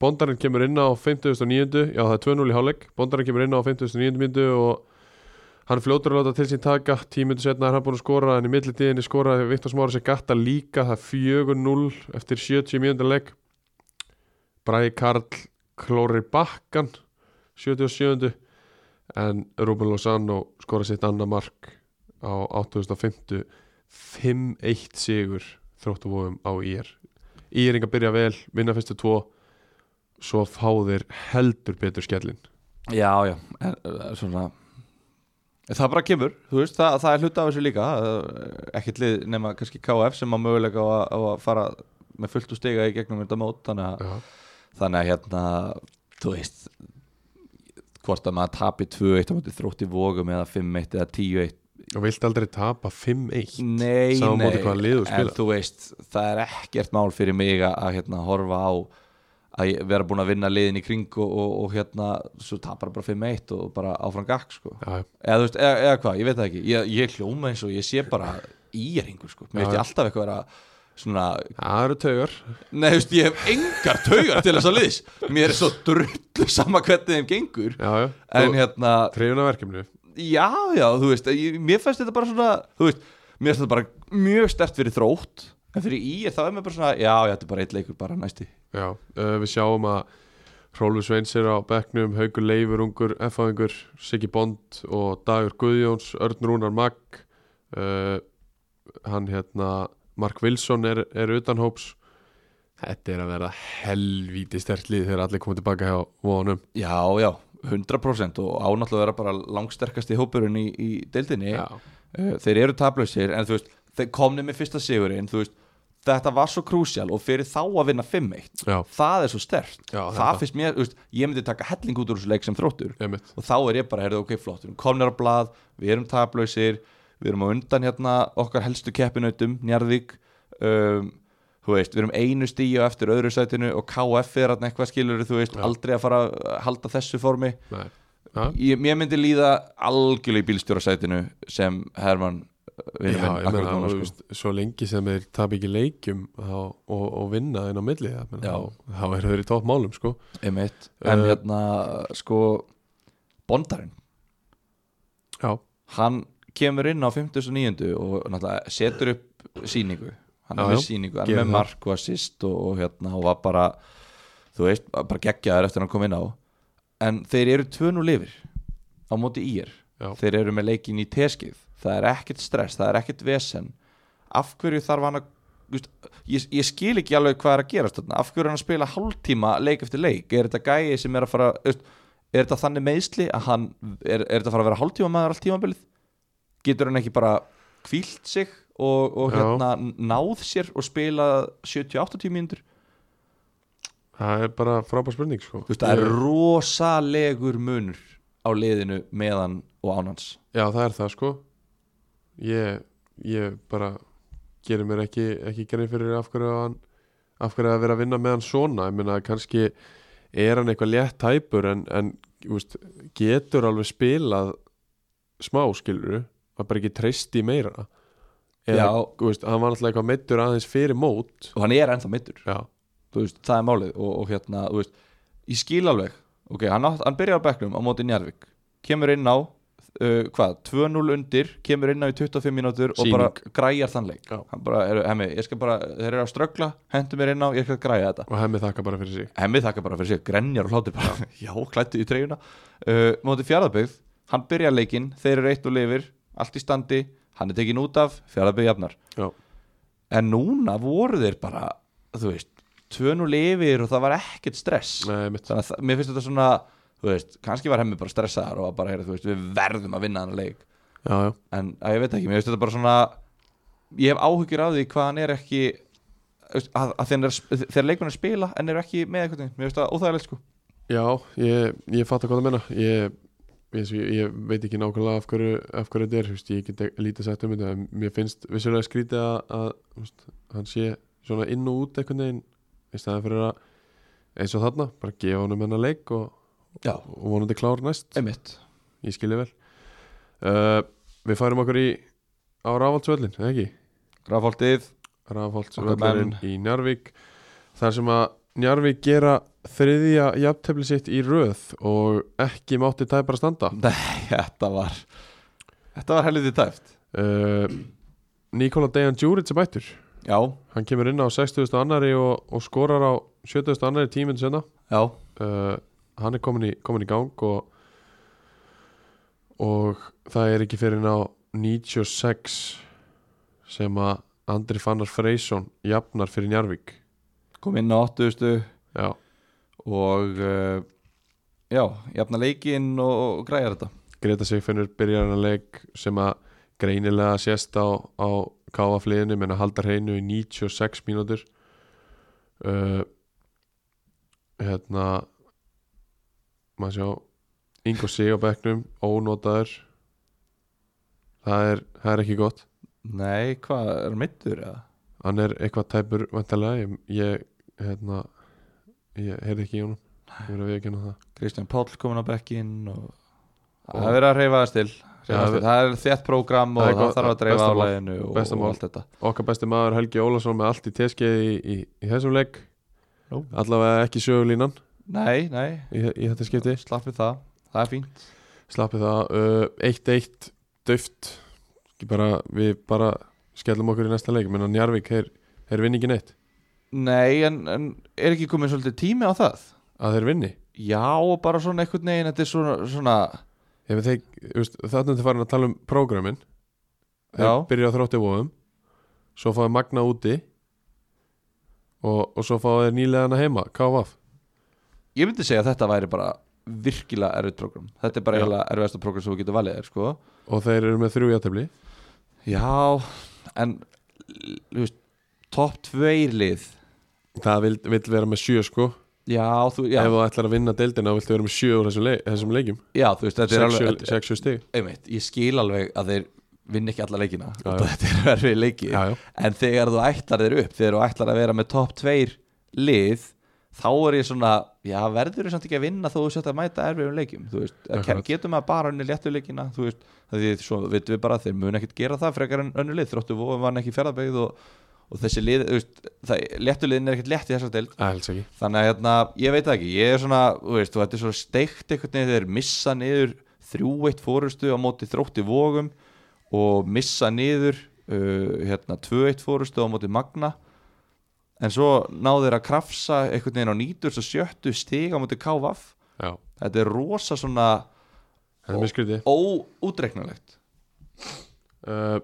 Bondarinn kemur inn á 59. Já, það er 2-0 í hálfleik Bondarinn kemur inn á 59. myndu og hann fljótur að láta til sín taka tímundu setna er hann búin að skora en í millitíðinni skora Viktor Smára sér gatta líka það er 4-0 eftir 70 mínútur leik Bræði Karl klóri bakkan 77. en Rúben Lozano skora sitt annað mark á 8.5 5-1 sigur þróttu vóðum á IR Íringa byrja vel, vinna fyrstu tvo svo fá þeir heldur betur skellin Já, já, en, eh, svona Það bara kemur, þú veist, það, það er hluta af þessu líka eh, ekkert lið nema kannski KF sem að möguleika á að, á að fara með fullt úr stiga í gegnum þetta mót þannig að, Já, þannig að hérna, þú veist hvort að maður tapi 2-1 á móti þrótti vógum eða 5-1 eða 10-1 og vilt aldrei tapa 5-1 Nei, Sama nei móti hvaða liði þú En spilar. þú veist, það er ekkert mál fyrir mig að, að hérna, horfa á að ég vera búin að vinna liðin í kring og, og, og hérna, svo tapar bara 5-1 og bara áfram gakk, sko Já, eða, þú veist, eða, eða hvað, ég veit það ekki ég, ég hljóma eins og ég sé bara íringur sko. mér veist Já, já. ég alltaf eitthvað vera svona, það eru taugar nei þú veist, ég hef engar taugar til þess að liðs, mér er svo drullu sama hvernig þeim gengur Já, já, en hérna, trefina verkefni já já þú veist, ég, mér finnst þetta bara svona þú veist, mér finnst þetta bara mjög stert fyrir þrótt, en fyrir í er það er mér bara svona, já, já, þetta er bara eitt leikur bara næsti Já, uh, við sjáum að Rólfur Sveins er á bekknum, Haugur Leifur ungur, F-aðingur, Siggi Bond og Dagur Guðjóns, Örn Rúnar Magg uh, hann hérna Mark Wilson er, er utan hóps Þetta er að vera helvíti sterkt lið þegar allir komið tilbaka hjá vonum já, já, 100% og ánáttúrulega vera bara langsterkasti hópurinn í, í deildinni Eh, þeir eru taplausir en þú veist, þeir komni með fyrsta sigurinn þú veist, þetta var svo krúsjál og fyrir þá að vinna 5-1 já, það er svo stert, Já, þetta. það finnst mér þú veist, ég myndi taka helling út úr þessu leik sem þróttur emitt og þá er ég bara, heyrðu, ok, flott við erum komnir á blað, við erum taplausir við erum á undan hérna okkar helstu keppinautum, Njarðvík um, þú veist, við erum einu stíu eftir öðru sætinu og KF er hérna eitthvað skilur, þú veist, Já. aldrei að fara að halda þessu formi Nei. Já, ég, mér myndi líða algjörlega í bílstjórasætinu sem Herman já, ég meina, núna, þú sko. veist, svo lengi sem þeir tap ekki leikjum þá, og, og vinna inn á milli það, meina, Já. þá, þá eru þeir í topp málum sko. einmitt en Eh, hérna sko bondarinn, já, hann kemur inn á 59. og náttúrulega setur upp síningu, hann Já, er með já, síningu hann gerir er það. með mark og assist og, og hérna og var bara, þú veist, bara geggjaður eftir hann kom inn á en þeir eru tvönu lifir á móti í er Já. þeir eru með leikin í teskið það er ekkert stress, það er ekkert vesen af hverju þarf hann að þú veist, ég, ég skil ekki alveg hvað er að gerast þarna. af hverju er hann að spila hálftíma leik eftir leik er þetta gæi sem er að fara þú veist, er þetta þannig meðsli að hann er, er þetta að fara að vera hálftíma maður allt tímabilið getur hann ekki bara kvílt sig og, og Já. hérna náð sér og spila 70-80 mínútur það er bara frábær spurning sko. Þú veist, það er Ég- rosalegur munur á liðinu meðan og ánans já, það er það sko. ég, ég bara gerir mér ekki, ekki grein fyrir af hverju hann af hverju að vera að vinna með hann svona ég meina kannski er hann eitthvað létt tæpur en, en þú veist, getur alveg spilað smá skiluru að bara ekki treysti í meira eða, Já. þú veist, hann var alltaf eitthvað meittur aðeins fyrir mót og hann er ennþá mittur já, veist, það er málið og, og hérna þú veist, ég skil alveg okay, hann, átt, hann byrjar á bekknum á móti Njarvik kemur inn á uh, hvað, 2-0 undir kemur inn á í 25 mínútur og Sýning. bara græjar þann leik Já. hann bara, heru, hemmi, ég skal bara, þeir eru að ströggla hendur mér inn á, ég skal græja þetta og hemmi þakka bara fyrir sig Hemmi þakka bara fyrir sig, grenjar og hlátir bara Já, klættu í treyjuna uh, Móti fjárðabyggð, hann byrjar leikinn Þeir eru eitt og lifir, allt í standi Hann er tekin út af, fjárðabyggð jafnar já, En núna voru þeir bara Þú veist, tvön og lifir Og það var ekkert stress Nei, mitt, Þannig að það- mér finnst þetta svona Þú veist, kannski var hemmi bara stressaðar Og var bara, heyra, þú veist, við verðum að vinna hann leik já, já, en að ég veit ekki, mér veist þetta bara svona ég hef áhyggjur af því hvað hann er ekki veist, að, að þegar, hann er- þegar leikmenn er að spila en eru ekki með eitthvað, mér veist það óþægilegt sko já ég, ég fatt að hvað það menna ég, ég, ég, ég veit ekki nákvæmlega af hverju, af hverju þetta er, þú veist, ég get ek- lítið sett um þetta, en mér finnst vissulega skrítið að, að þú veist, hann sé svona inn og út einhvern veginn, í staðan fyrir að eins og þarna, bara gefa honum hennar leik og, Já. og vonandi klár næst einmitt, ég skilja vel uh, Við færum okkur í á Rafaldsvöllin, eða ekki? rafaldið Okkar Rafaldsvöllin menn. í Njarvík þar sem að Njarvík gera þriðja jafntefli sitt í röð og ekki mátti tæpar að standa þetta var þetta var helviti tæft uh, Nikola Dejan Djuric er mættur já, hann kemur inn á 60. annari og, og skorar á 70. annari tíminn senna já, uh, hann er komin í, komin í gang og og það er ekki fyrir ná 96 sem að Andri Fannar Freysson jafnar fyrir Njarvík kom inn á 80 já, og uh, já, jafna leikinn og, og græjar þetta Greta Sigfinnur byrjar hann að leik sem að greinilega sést á, á káfafliðinu, menn að halda hreinu í 96 mínútur uh, hérna maður sjá Ingo Sig á bekknum, ónotaður það er, það er ekki gott nei, hvað, er hann mittur eða? hann er eitthvað tæpur vantarlega, ég, ég hérna ég heyrði ekki í honum ég verið að viðkynna það Kristján Páll komin á bekkinn og Og- það er verið að reyfa það stil Já, Hreyfa það stil. það er þétt prógram og Það er það, gott- þarf að dreifa besta mál. álæginu og, Besta og mál. allt þetta okkar besti maður Helgi Ólafsson með allt í teskeiði í, í, í þessum leik Nú. allavega ekki sögulínan Nei, nei, í, í þetta skipti slappið það, það er fínt slappið það uh, 1-1 döft bara, við bara skellum okkur í næsta leik menn að Njarvík er, er vinni ekki neitt Nei, en, en er ekki komin svolítið tími á það? að þeir vinni Já, og bara svona einhvern veginn, þetta er svona, svona Ef þeir, þú veist, þarna er þetta farin að tala um prógramin Já. þeir byrja á þrótti vóðum svo fáið Magna úti og, og svo fáið þeir nýlegaðana heima KVF Ég myndi segja að þetta væri bara virkilega erfitt prógram Þetta er bara Já. eiginlega erfiðasta prógram sem þú getur valið þér, sko og þeir eru með þrjú játefli Já, en l- þú veist, topp tveir lið það vill, vill vera með sjö sko Já, þú, já, ef þú ætlar að vinna deildina þá viltu vera með sjö úr þessum, leik, þessum leikjum já, þú veist, þetta er Sex- alveg sjö- þetta- sex, sjö stig einmitt, ég skil alveg að þeir vinna ekki alla leikina Já, og já. þetta eru erfið leiki já, já. en þegar þú ætlar þeir upp, þegar þú ætlar að vera með topp tveir lið þá er ég svona, já verður þú samt ekki að vinna þó þú sett að mæta erfiðum leikim þú veist, að Akkurat. getum að bara önni léttu leikina þú veist, það því svo veitum við bara að þeir mun ekkit gera það frekar en önnu lið, þróttu vofum var ekki fjaraðbegið og, og þessi lið, þú veist það, léttu liðin er ekkit létt í þessar deild Alls ekki þannig að hérna, ég veit það ekki ég er svona, þú veist, og þetta er svona steikt einhvern veginn þeir missa niður þrjúveitt fórustu á móti þrótti vógum og missa niður uh, hérna, tvöveitt fórustu á móti magna en svo náðu þeir að krafsa einhvern veginn á nýtur og sjöttu stig á móti KVF Já, þetta er rosa svona þetta er mjög skrítið óútreiknulegt uh,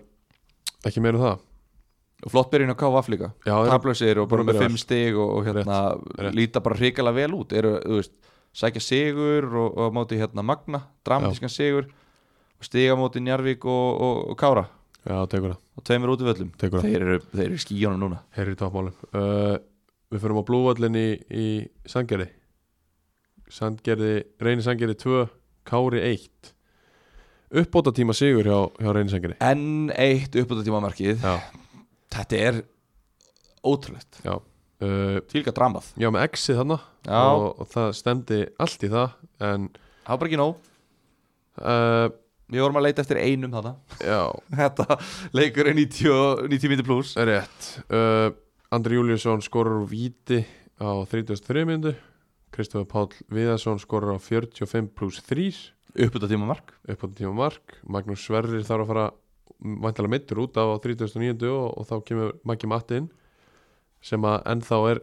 Ekki meira um það og flott byrjun á KVF líka Já, þeir- taplausir og búin að bara með byrja fimm stig og, og hérna rétt. líta bara hrikalega vel út eru, þú veist, sækja sigur og, og á móti hérna Magna, dramatískan sigur og stiga móti Njarvík og, og, og Kára Já, tekur það, og tveimur útvöllum tekur það þeir eru, þeir eru í skíjónum núna Herri í toppmálum uh, Við fyrir á blúvallin í, í Sandgerði Sandgerði, Reyni Sandgerði 2 Kári 1 Uppbóta tíma sigur hjá, hjá Reyni Sandgerði enn eitt uppbúttatímamarkið Já, þetta er ótrúlegt já uh, fylgja dramað Já, með exið þarna já, og, og það stemdi allt í það En það var bara ekki nóg uh, við vorum að leita eftir einum þarna Já, þetta leikur er 90, 90 minni pluss rétt uh, Andri Júliusson skorur úr víti á 33 myndu Kristofur Páll Viðarsson skorur á 45 pluss 3 uppbúttatímamark upp á tíma mark Magnús Sverrir þarf að fara vantala meittur út á 39. og, og þá kemur Maggi Matti inn sem að ennþá er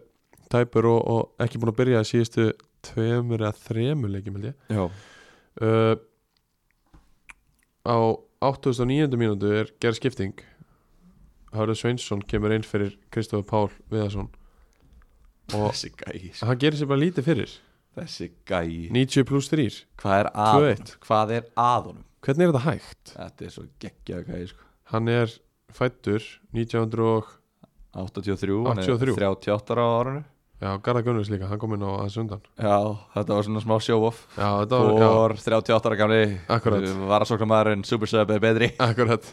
tæpur og, og ekki búin að byrja í síðustu tveimur eða þremur leikjum held ég já uh, á 89. mínútu er gerð skipting Hörður Sveinsson kemur inn fyrir Kristofur Pál Viðarsson og þessi gæi sko. hann gerir sér bara lítið fyrir þessi gæi 90 pluss 3 Hvað er að honum? Hvað er að honum? hvernig er þetta hægt? Þetta er svo geggjað gæði sko. Hann er fættur 1900 og 83, hann er 83. 38 ára á árunni já, Garðar Gunnars líka, hann kom inn á aðeins undan Já, þetta var svona smá show-off Já, þetta var, já, Bór, 38 ára gamli Akkurat. Varasóknarmaðurinn, Super Sub er betri akkurat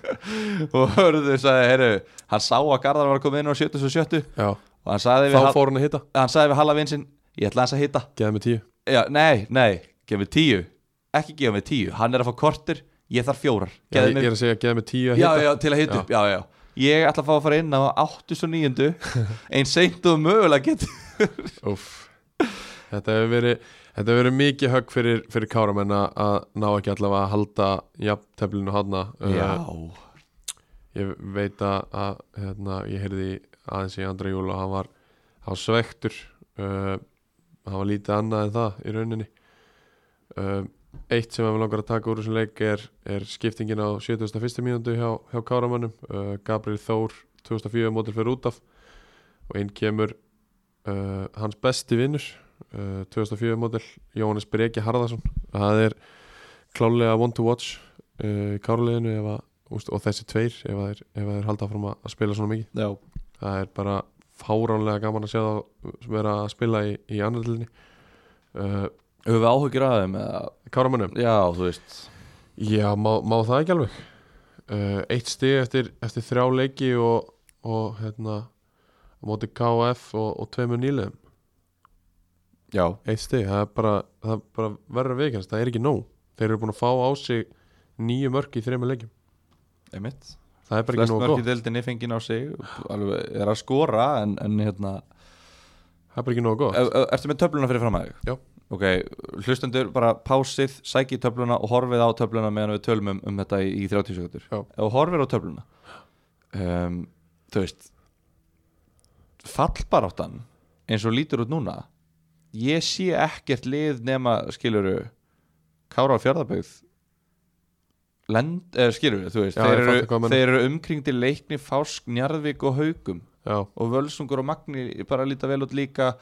Og hörðu sagði, heyru Hann sá að Garðar var að koma inn á 77 Já, Og hann þá sagði við, hall, fór hann að hitta hann sagði við Halla vinsinn Ég ætla hans að hitta Geða með tíu Já, nei, nei, gefa mig 10 Ekki gefa mig 10, hann er að fá kortir Ég þarf fjórar já, Gefðu Ég er að segja geða með tíu að já, hitta já, til að hita upp, já, já Ég ætla að fá að fara inn á 89 Eins seint og mögulega getur Úff. Þetta hefur verið, þetta hefur verið mikið högg fyrir, fyrir káramenn að- að ná ekki allavega að halda jafnteflinu eh, hana Ég veit að, að hérna, ég heyrði aðeins í Andra Júl og hann var, hann var svektur uh, hann var lítið annað en það í rauninni uh, Eitt sem við langar að taka úr þessum leik er, er skiptingin á 71. mínútu hjá, hjá Káramannum uh, Gabriel Þór 2004 mótil fyrir út af og inn kemur uh, hans besti vinnur uh, 2004 mótil Jóhannes Breki Harðarsson það er klálega one to watch uh, í Káraliðinu ef að úst, og þessi tveir ef að þeir, ef að þeir halda áfram að, að spila svona mikið já það er bara fáránlega gaman að sjá það sem vera að spila í, í annaðlinni uh, Höfum við áhugir að þeim eða Káramönnum Já, þú veist já, má, má það ekki alveg uh, eitt stig eftir, eftir þrjá leiki og, og hérna á móti KF og, og tveimur nýliðum Já, eitt stig, það er bara, það er bara verra vikast, það er ekki nóg þeir eru búin að fá á sig nýju mörk í þreimur leikjum, einmitt það er bara Flest ekki nóg mörk gott í deildinni fengið á sig alveg, Er að skora en, en hérna það er bara ekki nóg gott er, Ertu með töfluna fyrir fram að þig? Sko. Já. Ok, hlustendur bara pásið, sækið töfluna og horfið á töfluna meðan við tölum um, um þetta í, í 30 sekundur Já. Og horfið á töfluna um, Þú veist Fallbaráttan eins og lítur út núna Ég sé ekkert lið nema skiluru Kára á fjörðabögð Lend, eh, skilur þú veist Já, þeir ég fatta hvað eru, þú meinar. þeir eru umkringdi leikni Fásk, Njarðvík og Haugum já, og Völsungur og Magni bara líta vel út líka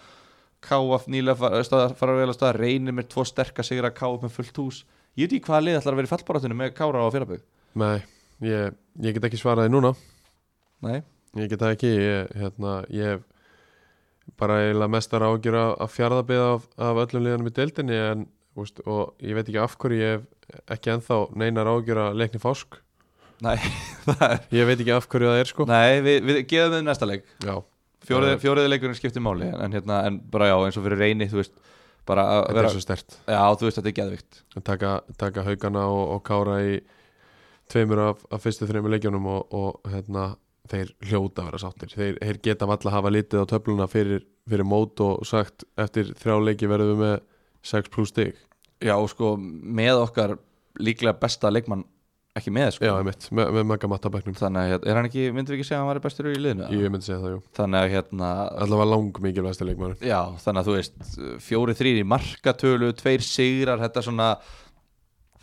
Káaf nýlega fara, staðar, fara vel að staða reynir með tvo sterka sigra Káaf með fullt hús ég veit ekki hvaða lið ætlar að vera í fallbaráttunum með Kára á fyrrabögg nei, ég, ég get ekki svaraði núna nei, Ég get það ekki, ég, hérna, ég hef bara eiginlega mestar ágjur af, af fjarðabið af, af öllum liðanum í deildinni en, úst, og ég veit ekki af hverju ég hef ekki ennþá neinar ágjur af leikni fásk. nei, það er Ég veit ekki af hverju það er sko. nei, við, við geðum þeim næsta leik Já, fjóriði, fjóriði leikurinn skiptir máli en, en, hérna, en bara já, eins og fyrir reyni þú veist, bara að þetta vera er svo stert. já, þú veist, þetta er geðvikt Taka, taka haugana og, og kára í tveimur af, af fyrstu þreimur leikjunum og, og hérna, þeir hljóta að vera sáttir. Þeir, þeir geta valla að hafa litið á töfluna fyrir, fyrir mót og sagt eftir þrjá leiki verðum við með 6 pluss stig. já, og sko, með okkar líklega besta leikmann ekki með, Já, sko einmitt, með, með maga matabæknum þannig að, hérna, er hann ekki, myndum við ekki segja að hann væri bestur í liðinu eða? Ég myndi segja það, jú þannig að, hérna, Alltaf var lang mikilvægstu leikmæður Já, þannig að þú veist fjóri þrýr í markatölu, tveir sigrar þetta svona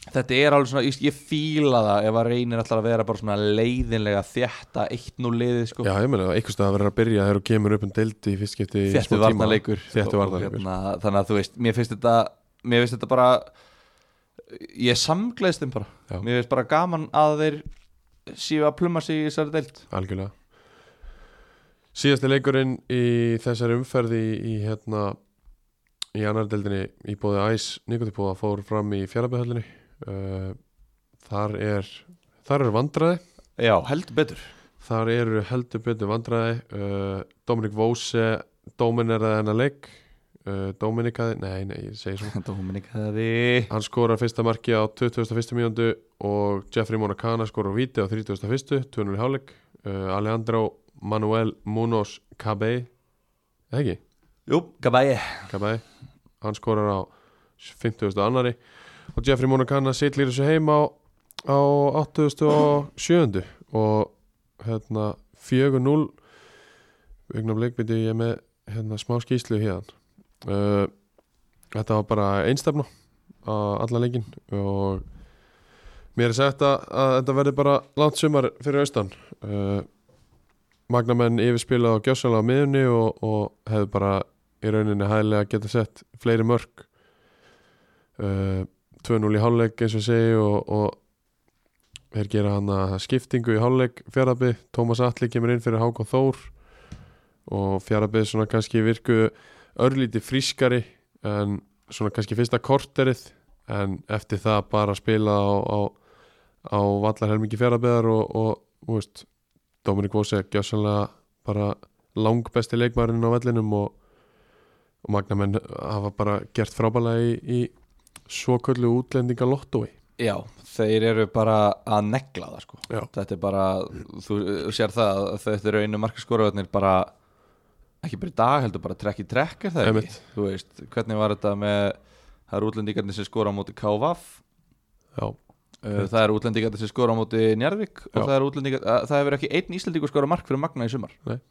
þetta er alveg svona, ég- ég fíla það ef að reynir alltaf að vera bara svona leiðinlega þjætta 1-0 liðið sko Já, ég meina, einhvers staðar verður að byrja þegar þú kemur upp um deildi í fyrst skipti í þjættu smá tíma. varnarleikur Þéttu Og- varnarleikur. og hérna, þannig að þú veist, mér finnst þetta mér finnst þetta bara ég samgleðst þeim bara Já. mér finnst bara gaman að þeir séu að pluma sig í þessari deilt Algjörlega Síðasti leikurinn í þessari umferði í, í hérna í annar deildinni í bóði Æs Nikotipóða fór fram í fjarlabæðhöllinni uh, Þar er Þar eru vandræði Já, heldur betur Þar eru heldur betur vandræði uh, Dominik Vóse Domineraði hennar leik uh, Dominikaði, nei, nei, ég segi svo Dominik hefði Hann skorar fyrsta marki á 21. mínúndu og Jeffrey Monacana skorar víti á 31. 2-0 í hálfleik uh, Alejandro Manuel Munoz Cabey eða ekki, Jú, gabæi Cabey hann skorar á 50. annari og Jeffrey Monacana sitlir þessu heim á, á 87. og hérna 4-0 augnablik byrju ég með hérna, smá skýslu hérna uh, þetta var bara einstefna á alla leikin og mér er sagt að, að þetta verði bara langt sumar fyrir austan uh, Magnamenn yfirspila á gjössalega á miðunni og, og hefði bara í rauninni hæðilega geta sett Eh, fleiri mörg uh, 2-0 í hálfleik eins og ég segi og, og þeir gera hann að skiptingu í hálfleik fjaraðbyð, Tómas Atli kemur inn fyrir Hákon Þór og fjaraðbyð svona kannski virku örlíti frískari en svona kannski fyrsta korterið en eftir það bara að spila á, á, á vallar helmingi fjaraðbyðar og, og þú veist, Dominik Vose gjössanlega bara langbesti leikmærin á vellinum og, og magnamenn hafa bara gert frábælega í, í svo köllu útlendinga lottói Já, þeir eru bara að negla það sko Já. Þetta er bara, þú sér það að þetta eru einu markaskoruðarnir bara ekki bara í dag heldur, bara trekk í trekk er það ekki, Einmitt. þú veist, hvernig var þetta með það eru útlendingarnir sem skora á móti KVAF Já, uh, það eru útlendingarnir sem skora á móti Njarðvík og Já. það eru útlendingarnir, að- það hefur ekki einn íslendingur skora mark fyrir Magna í sumar Ég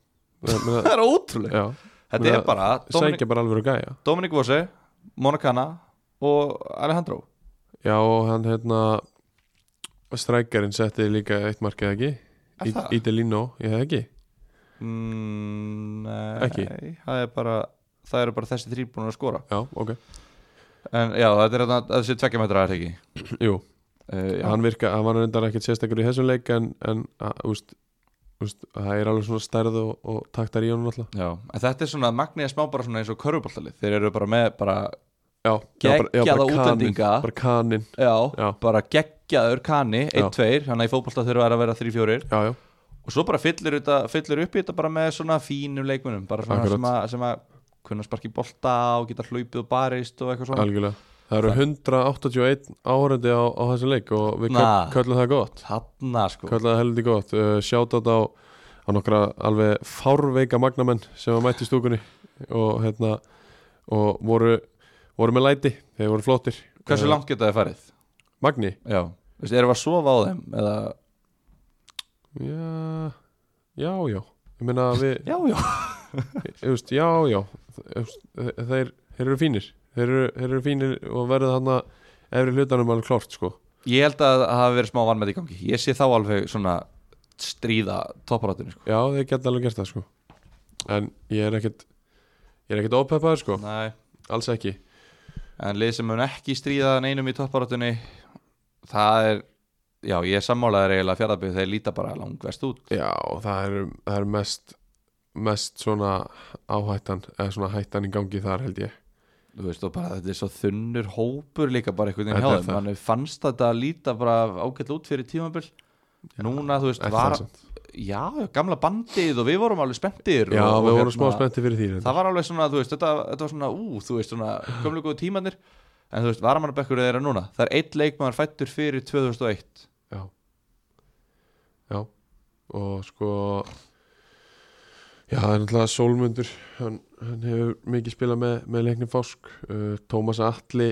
meina, Það er ótrúlega, já þetta meina, er bara Dominik, sækja bara alveg að gæja Dominik Vose, Monacana og Alejandro Já, og hann hérna strækjarinn setti líka eitt markið ekki Er Í- það? Ídelino, ég hef ekki Mm, nei, Ekki? það, er bara, það eru bara þessi þrýr búin að skora Já, ok, En já, þetta er þarna- þessi tveggjamættra er þetta ekki jú uh, já. hann virka, hann var reyndar ekkert sérstakur í þessum leik en, en að, úst, úst, það er alveg svona stærð og, og taktar í honum alltaf já, en þetta er svona Magni er smá bara svona eins og körfuboltalið Þeir eru bara með bara, já, já, bara- já, bara Geggjaða kaninn, útlendinga. bara kanin, já, Já. bara geggjaður kani, Já. 1-2 Þannig að í fótbolta þurfa þær að vera 3-4 já, já, Og svo bara fyllir, þetta, fyllir upp í þetta bara með svona fínum leikmunum Bara svona Akkurat. sem að, sem að kunna sparki bolta og geta hlaupið og barist og eitthvað svona algjörlega það eru 181 áhörandi á, á þessum leik og við Na. köll- köllum það gott Þarna sko köllum það heldur gott, uh, sjátt á á nokkra alveg fárveika magnamenn sem að mætti í stúkunni og hérna og voru, voru með læti, þeir voru flottir Hversu Eh, langt geta þið farið? Magni, Já, Veistu, erum við að sofa á þeim? Eða... já já, já, ég meina við Já, já Þú veist, já, já þú veist, þeir, þeir eru fínir þeir eru, þeir eru fínir og verða þarna efri hlutanum alveg klárt sko Ég held að það hafi verið smá vanmætt í gangi Ég sé þá alveg svona stríða topparátinu sko. já, þeir geta alveg gert það sko en ég er ekkert ég er ekkert ópeppaður sko, Nei, alls ekki En lið sem mun ekki stríða neinum í topparátinu Það er Já, ég sammálaði eiginlega fjaraðbyggð Þeir líta bara langvest út já, og það eru það er mest mest svona áhættan eða svona hættan í gangi þar held ég Þú veist, og bara þetta er svo þunnur hópur líka bara einhvern veginn Þetta hjá er þeim það. Manni fannst þetta líta bara ágætla út fyrir tímabil Núna, þú veist, Ekki var það samt. Já, já, gamla bandið og við vorum alveg spenntir já, og, hérna- við og vorum smá spennti fyrir því það var alveg svona, þú veist, þetta, þetta var svona ú, þú veist, svona gömlu góðu tímanir en þú veist, varamannabekkur þeirra núna það er eitt leikmaður fættur fyrir 2001 Já Já Og sko Já, það er náttúrulega Sólmundur hann, hann hefur mikið spilað með, með leikni Fásk uh, Tómas Atli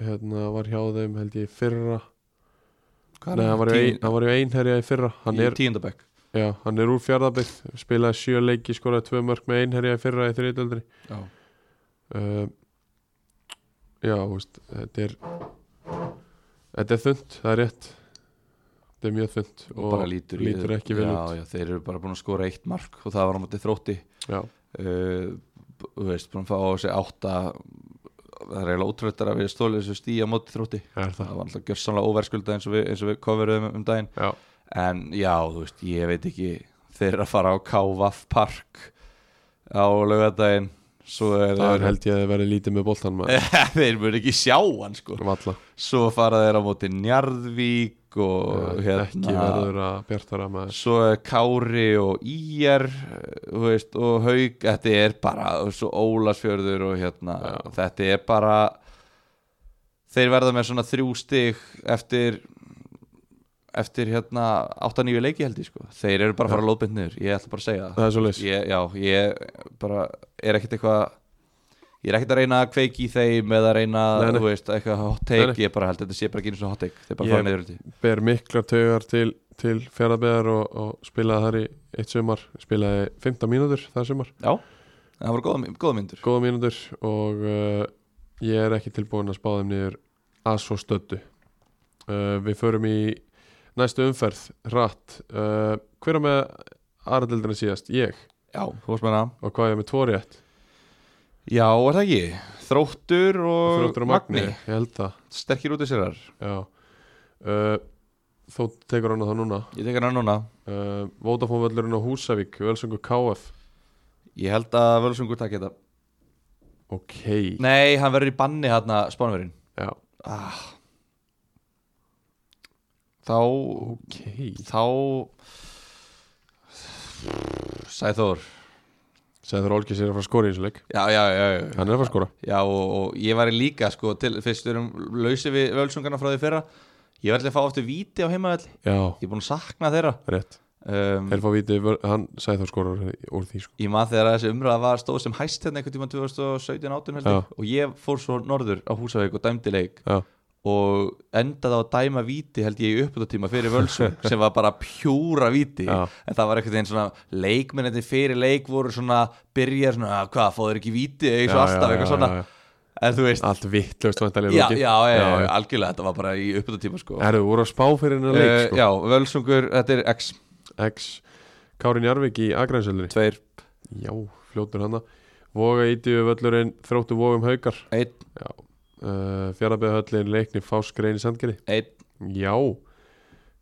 hérna, var hjá þeim held ég í fyrra Nei, hann var, í ein, hann var í einherja í fyrra hann er, tíundabekk já, hann er úr fjárðabygg spilaði sjö leiki, skoraði tvö mörg með einherja í fyrra í þriðdöldri já. uh, Já, þú veist, þetta er Þetta er þund, það er rétt Þetta er mjög þund og, bara lítur, í- lítur ekki vel já, út já, þeir eru bara búin að skora eitt mark og það var á móti þrótti Já, uh, b- þú veist, búin að fá á sig átta það er eiginlega ótröldar að við stólið þessu stí á móti þrótti það er það það var alltaf gjörsamlega óverskulda eins og við, eins og við coveruðum um daginn Já, En já, þú veist, ég veit ekki Þeir eru að fara á K.V.A.F. Park á laugardaginn Svo er Eh. það er held ég að það verði lítið með boltan maður Þeir mjög ekki sjá hann sko Valla, Svo fara þeir á móti Njarðvík og ekki hérna verður að bjartara maður Svo er Kári og Íjar þú veist, og Haug Þetta er bara, og svo Ólasfjörður og hérna, þetta er bara Þeir verða með svona þrjú stig eftir eftir hérna 8-9 leiki held ég sko þeir eru bara að fara að lóðbind niður, ég ætla bara að segja það Það er svo leys ég, já, ég bara er ekkert eitthvað ég er ekkert að reyna að kveiki í þeim eða að reyna, Nei, nei. þú veist, eitthvað hot take Nei, nei. ég bara held, þetta sé bara ekki einu svona hot take þeir bara Ég- fara niður held ég. Ber miklar taugar til, til fjaraðbeðar og, og spilaði þar í eitt sumar Spilaði 15 mínútur þar sumar já, en það voru góða, góða myndur Góða mínútur og uh, ég er ekki tilbúin að spá þeim niður að svo stöddu uh, Við förum í næstu umferð, rætt uh, Hver á með aðraldildina síðast? Ég já, þú varst með hana og hvað er ég með tvo rétt? já, er það ekki, þróttur og, Þróttur og Magni, ég held það sterkir út í sérar Já uh, þó tekur hann á það núna Ég tekur hann núna uh, Vodafone völlurinn á Húsavík, Völsungur KF Ég held að Völsungur takk þetta ok, Nei, hann verður í banni hérna spánverðin já, ah. Þá ok Þá Sæþór Sæður Olgis er að fara að skora í þessu leik Já, já, já, já. hann er að fara að skora Já, og, og ég var líka sko, til, fyrst við erum lausið við völsungarna frá því fyrra Ég var ætla að fá aftur víti á heimavelli já, Ég er búinn að sakna þeirra rétt, um, þeir fá viti vör- hann Sæður skorar úr því sko. Ég maður þegar þessi umræða var stóð sem hæst hérna einhvern tíma 2017-18 held Já. ég og ég fór svo norður á Húsavík og dæmdi leik já, og endaði á að dæma víti held ég í uppbúttatíma fyrir völsung sem var bara pjúra víti Já. en það var einhvern veginn svona leikmennandi fyrir leik voru svona byrjar svona "Ah, hvað fóður ekki víti eins og Já, alltaf já, eitthvað já, svona já, já. en þú veist allt vittlust vantarlega já, já, já, já, algjörlega, þetta var bara í uppbúttatíma sko. Erðu, voru að spá fyrir hennar leik Eh, sko. já, Völsungur, þetta er X X Kárin Jarvik í Akransöldri tveir, Já, fljótur hana Voga ítíu völlurinn þróttu vogum haukar einn, uh, Fjarabeðhöllin leikni fáskrein í sandgeri einn Já,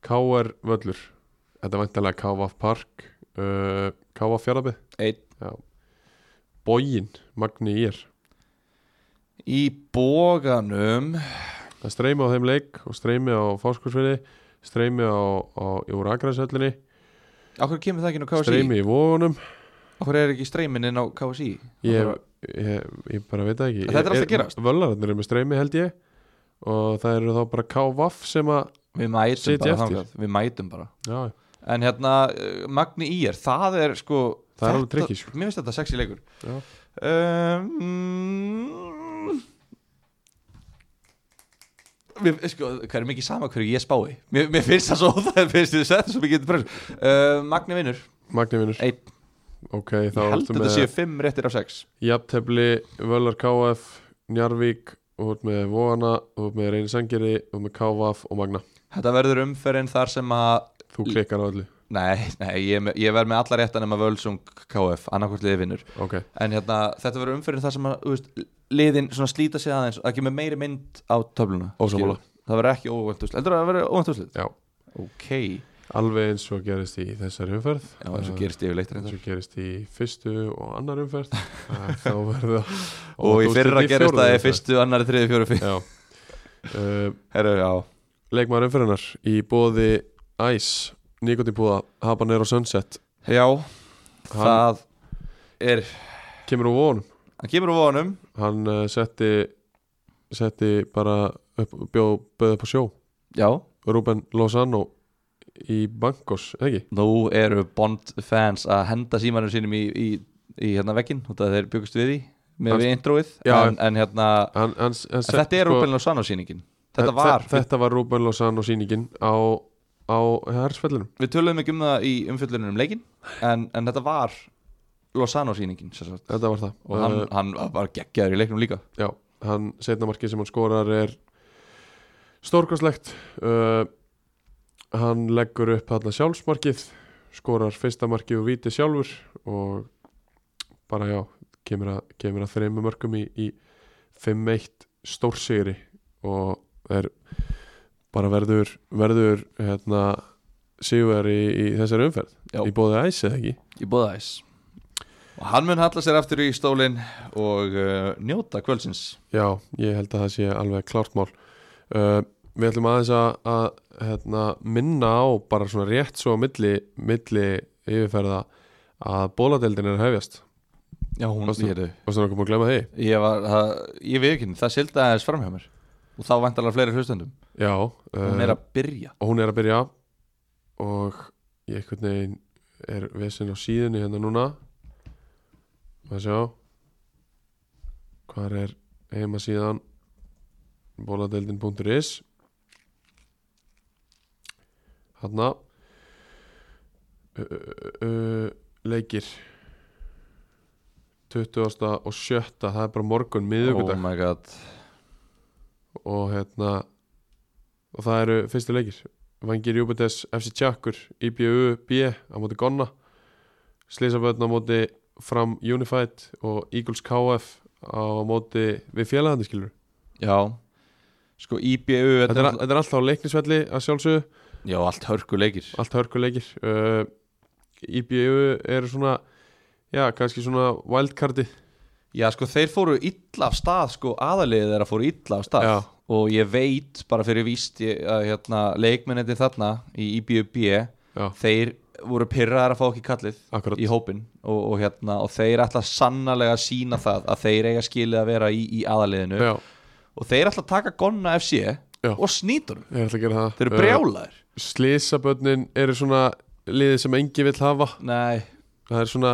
K.R. völlur Þetta er væntalega K.V. Park uh, K.V. Fjarabeð Einn. Já Bógin, Magni Ír í bóganum Það er streymi á þeim leik og streymi á fáskursfinni streymi á, á úr Akransöllinni Akkur kemur það ekki inn á KSI? streymi í vogunum Akkur er ekki streymin inn á KSI? ég, ég, ég bara veit það ekki Þetta er allt að Er- gerast. Völlararnir eru með streymi held ég og það eru þá bara KVF sem að Við mætum Sitja bara eftir. þangað Við mætum bara já, En hérna, eh, Magni Ír, það er sko Það er alveg þetta- tricky, sko. Mér finnst þetta sexy leikur Ehm, Já. um, Mér, sko, hvað er mikið sama hverju ég spái Mér, mér finnst það svo óþægilegt, Mér finnst þið sett svo mikið press uh, Magni vinnur Magni vinnur Einn. ok, Ég þá held ertu þetta með séu fimm réttir af sex jafntefli, Völlar KVF Njarvík, og út með Vóana og með Reyni Sangeri og með KVF og Magna, Þetta verður umferðin þar sem að þú klikkar á öllu Nei, nei, ég, er með- ég verð með alla réttan nema Völsung KF, annarkvöldliði vinnur ok, En hérna, þetta verður umfyrir það sem að þú veist, liðin svona slíta sig aðeins það kemur meiri mynd á töfluna Ósammála. Skilur. Það verður ekki óvænt úrslit Heldur það að verður óvænt úrslit? Já. Ok, alveg eins og gerist í þessari umferð já, eins og Uh, gerist yfirleitt eins reyndar og gerist í fyrstu og annar umferð Uh, þá verða Og í fyrra gerist það í fyrstu, annari, þriði, fjóru, fyrra já uh, Herru, já leikmaður umfyrirnar í bóði Æs, Nikotipúða Habanero Sunset, Já, hann það er kemur úr vonum Hann kemur úr vonum hann uh, setti setti bara upp, bjó, bjöði upp á sjó Já, Ruben Lozano í Bankos, eða ekki? nú eru Bond fans að henda símanum sínum í, í, í hérna veggin Þetta þeir byggust við því Hann- með við introið Já. en, en hérna, Hann, hann, hann en þetta er Rúbelin og Sanna sýningin Þetta þe- var, þe- þetta var Ruben Lozano sýningin á, á hersfellinum við töluðum ekki um það í umfjöldunum um leikin en, en þetta var Lozano sýningin sem sagt. þetta var það og hann, Eh, hann var geggjaður í leiknum líka já, hann setna markið sem hann skorar er stórkostlegt uh, hann leggur upp hann sjálfsmarkið skorar fyrsta markið og víti sjálfur og bara já kemur að, kemur að þreymu mörgum í, í 5-1 stórsigri og er bara verður, verður hérna, sigur í, í þessari umferð Já. í bóði æs eða ekki í bóðaðis og hann mun halla sér aftur í stólinn og uh, njóta kvöldsins Já, ég held að það sé alveg klárt mál uh, Við ætlum aðeins að, að hérna, minna á bara svona rétt svo á milli, milli yfirferða að bóladeldin er að hefjast já, hún Varstu- hétu og svona okkur búin að glemma því ég var, það, ég veit ekki, það sildi aðeins framhjá mér og þá vantalega fleiri hlustendum Já, uh, hún er að byrja og hún er að byrja og ég einhvern veginn er vesinn á síðunni hérna núna að sjá hvar er heima síðan bóladeildin.is hann að leikir 20. og 7. það er bara morgun oh miðugudag my god, og hérna og það eru fyrstu leikir Vangir Júpiters, FC Tjakkur IBU, B á móti Gonna Slisaböðn á móti Fram Unified og Eagles KF á móti við félagandi skilur já sko IBU þetta er, þetta er alltaf á leiknisvelli að sjálfsögðu Já, allt hörku leikir allt hörkuleikir uh, IBU eru svona já, kannski svona wildcardi Já, sko, þeir fóru illa af stað sko, aðaliðið þeirra fóru illa af stað Já. og ég veit, bara fyrir víst ég, að hérna, leikmenninni þarna í IBUB, Já. þeir voru pyrraðar að fá ekki kallið Akkurat. í hópin og, og, hérna, og þeir ætla sannarlega að sína það að þeir eiga skilið að vera í, í aðaliðinu já, og þeir ætla að taka Gonna FC Já. og snítunum, ég ætla að gera það þeir eru brjálaðir uh, Slisabönnin eru svona liðið sem engi vill hafa Nei, það er svona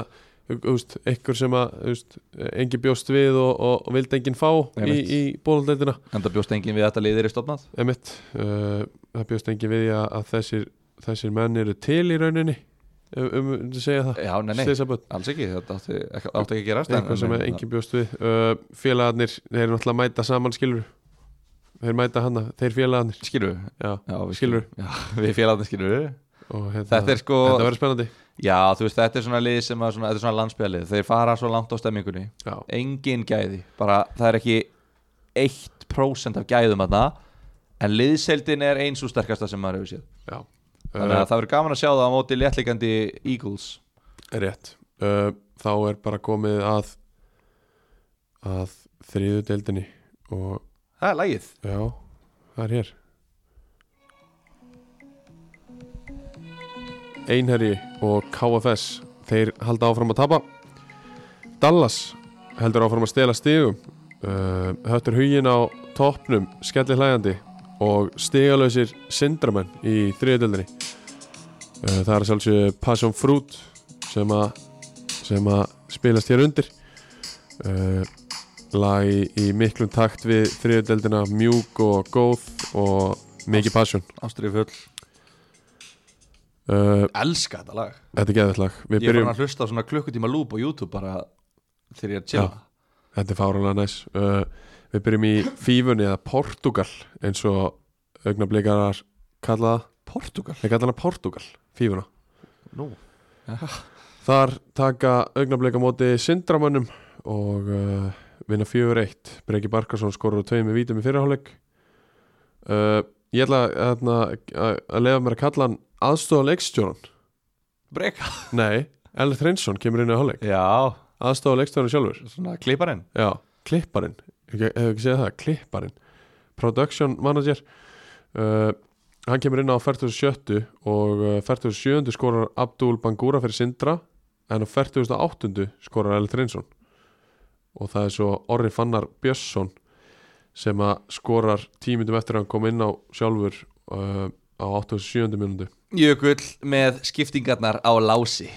úst, einhver sem að úst, engi bjóst við og, og, og vildi enginn fá í, Einmitt. í bóluleitina en það bjóst enginn við að þetta liðir í stofnað emitt, uh, það bjóst enginn við því að, að þessir, þessir menn eru til í rauninni um, um, um að segja það Já, nei, nei, Slisabönn, alls ekki, þetta átti, átti ekki að gerast en- einhver sem en- að enginn bjóst við uh, félagarnir, þeir eru náttúrulega að mæta saman skilur þeir mæta hana, þeir félagarnir Skilurðu? já, Já, við Skilurðu? Já, við félagarnir skilur og hérna, Þetta er sko, þetta verður spennandi já þú veist þetta er svona lið sem að svona, þetta er svona landsbjörlið Þeir fara svo langt á stemmingunni já, Engin gæði, bara það er ekki 1% af gæðum aðna En liðseldin er eins og sterkasta sem maður hefur séð já. Uh, Þannig að það verður gaman að sjá það á móti léttlikandi Eagles Rétt uh, Þá er bara komið að að þriðu deildinni og Það er lagið já, það er hér Einherji og KFS þeir halda áfram að tapa Dallas heldur áfram að stela stigum uh, höttur hugin á toppnum skelli hlægandi og stigalösir syndramenn í þriðu deildinni uh, það er að sjálfsögðu Passion Fruit sem að sem að spilast hér undir uh, lag í, í miklum takt við þriðudeldina mjúk og góð og mikið passion Ástrið full uh, Elska þetta lag þetta er geðvægt lag við Ég er byrjum, farin að hlusta á svona klukkutíma loop á YouTube bara þegar ég er að Já. chilla þetta er fárulega næs uh, við byrjum í fífunni eða Portugal eins og augnablikarar kalla það, Portugal þeir kalla hana Portugal fífuna Nú Þar taka augnablik á móti syndramönnum og uh, vinna 4-1 Breki Barkarsson skorur á tveim með vítum í fyrirháleik uh, Ég ætla hérna, að að lefa mér að kalla hann aðstofa leikstjóran Breka Nei, Ellert Reynsson kemur inn í háleik Já, aðstofa leikstjóran sjálfur svona klipparinn Já, klipparinn, hefur ekki segjað það klipparinn, production manager uh, hann kemur inn á 47 og uh, 47 skorar Abdul Bangura fyrir Sindra en á 48 skorar Ellert Reynsson og það er svo Orri Fannar Björnsson sem að skorar tímindum eftir að hann kom inn á sjálfur uh, á 87. minúndu Jökull með skiptingarnar á lási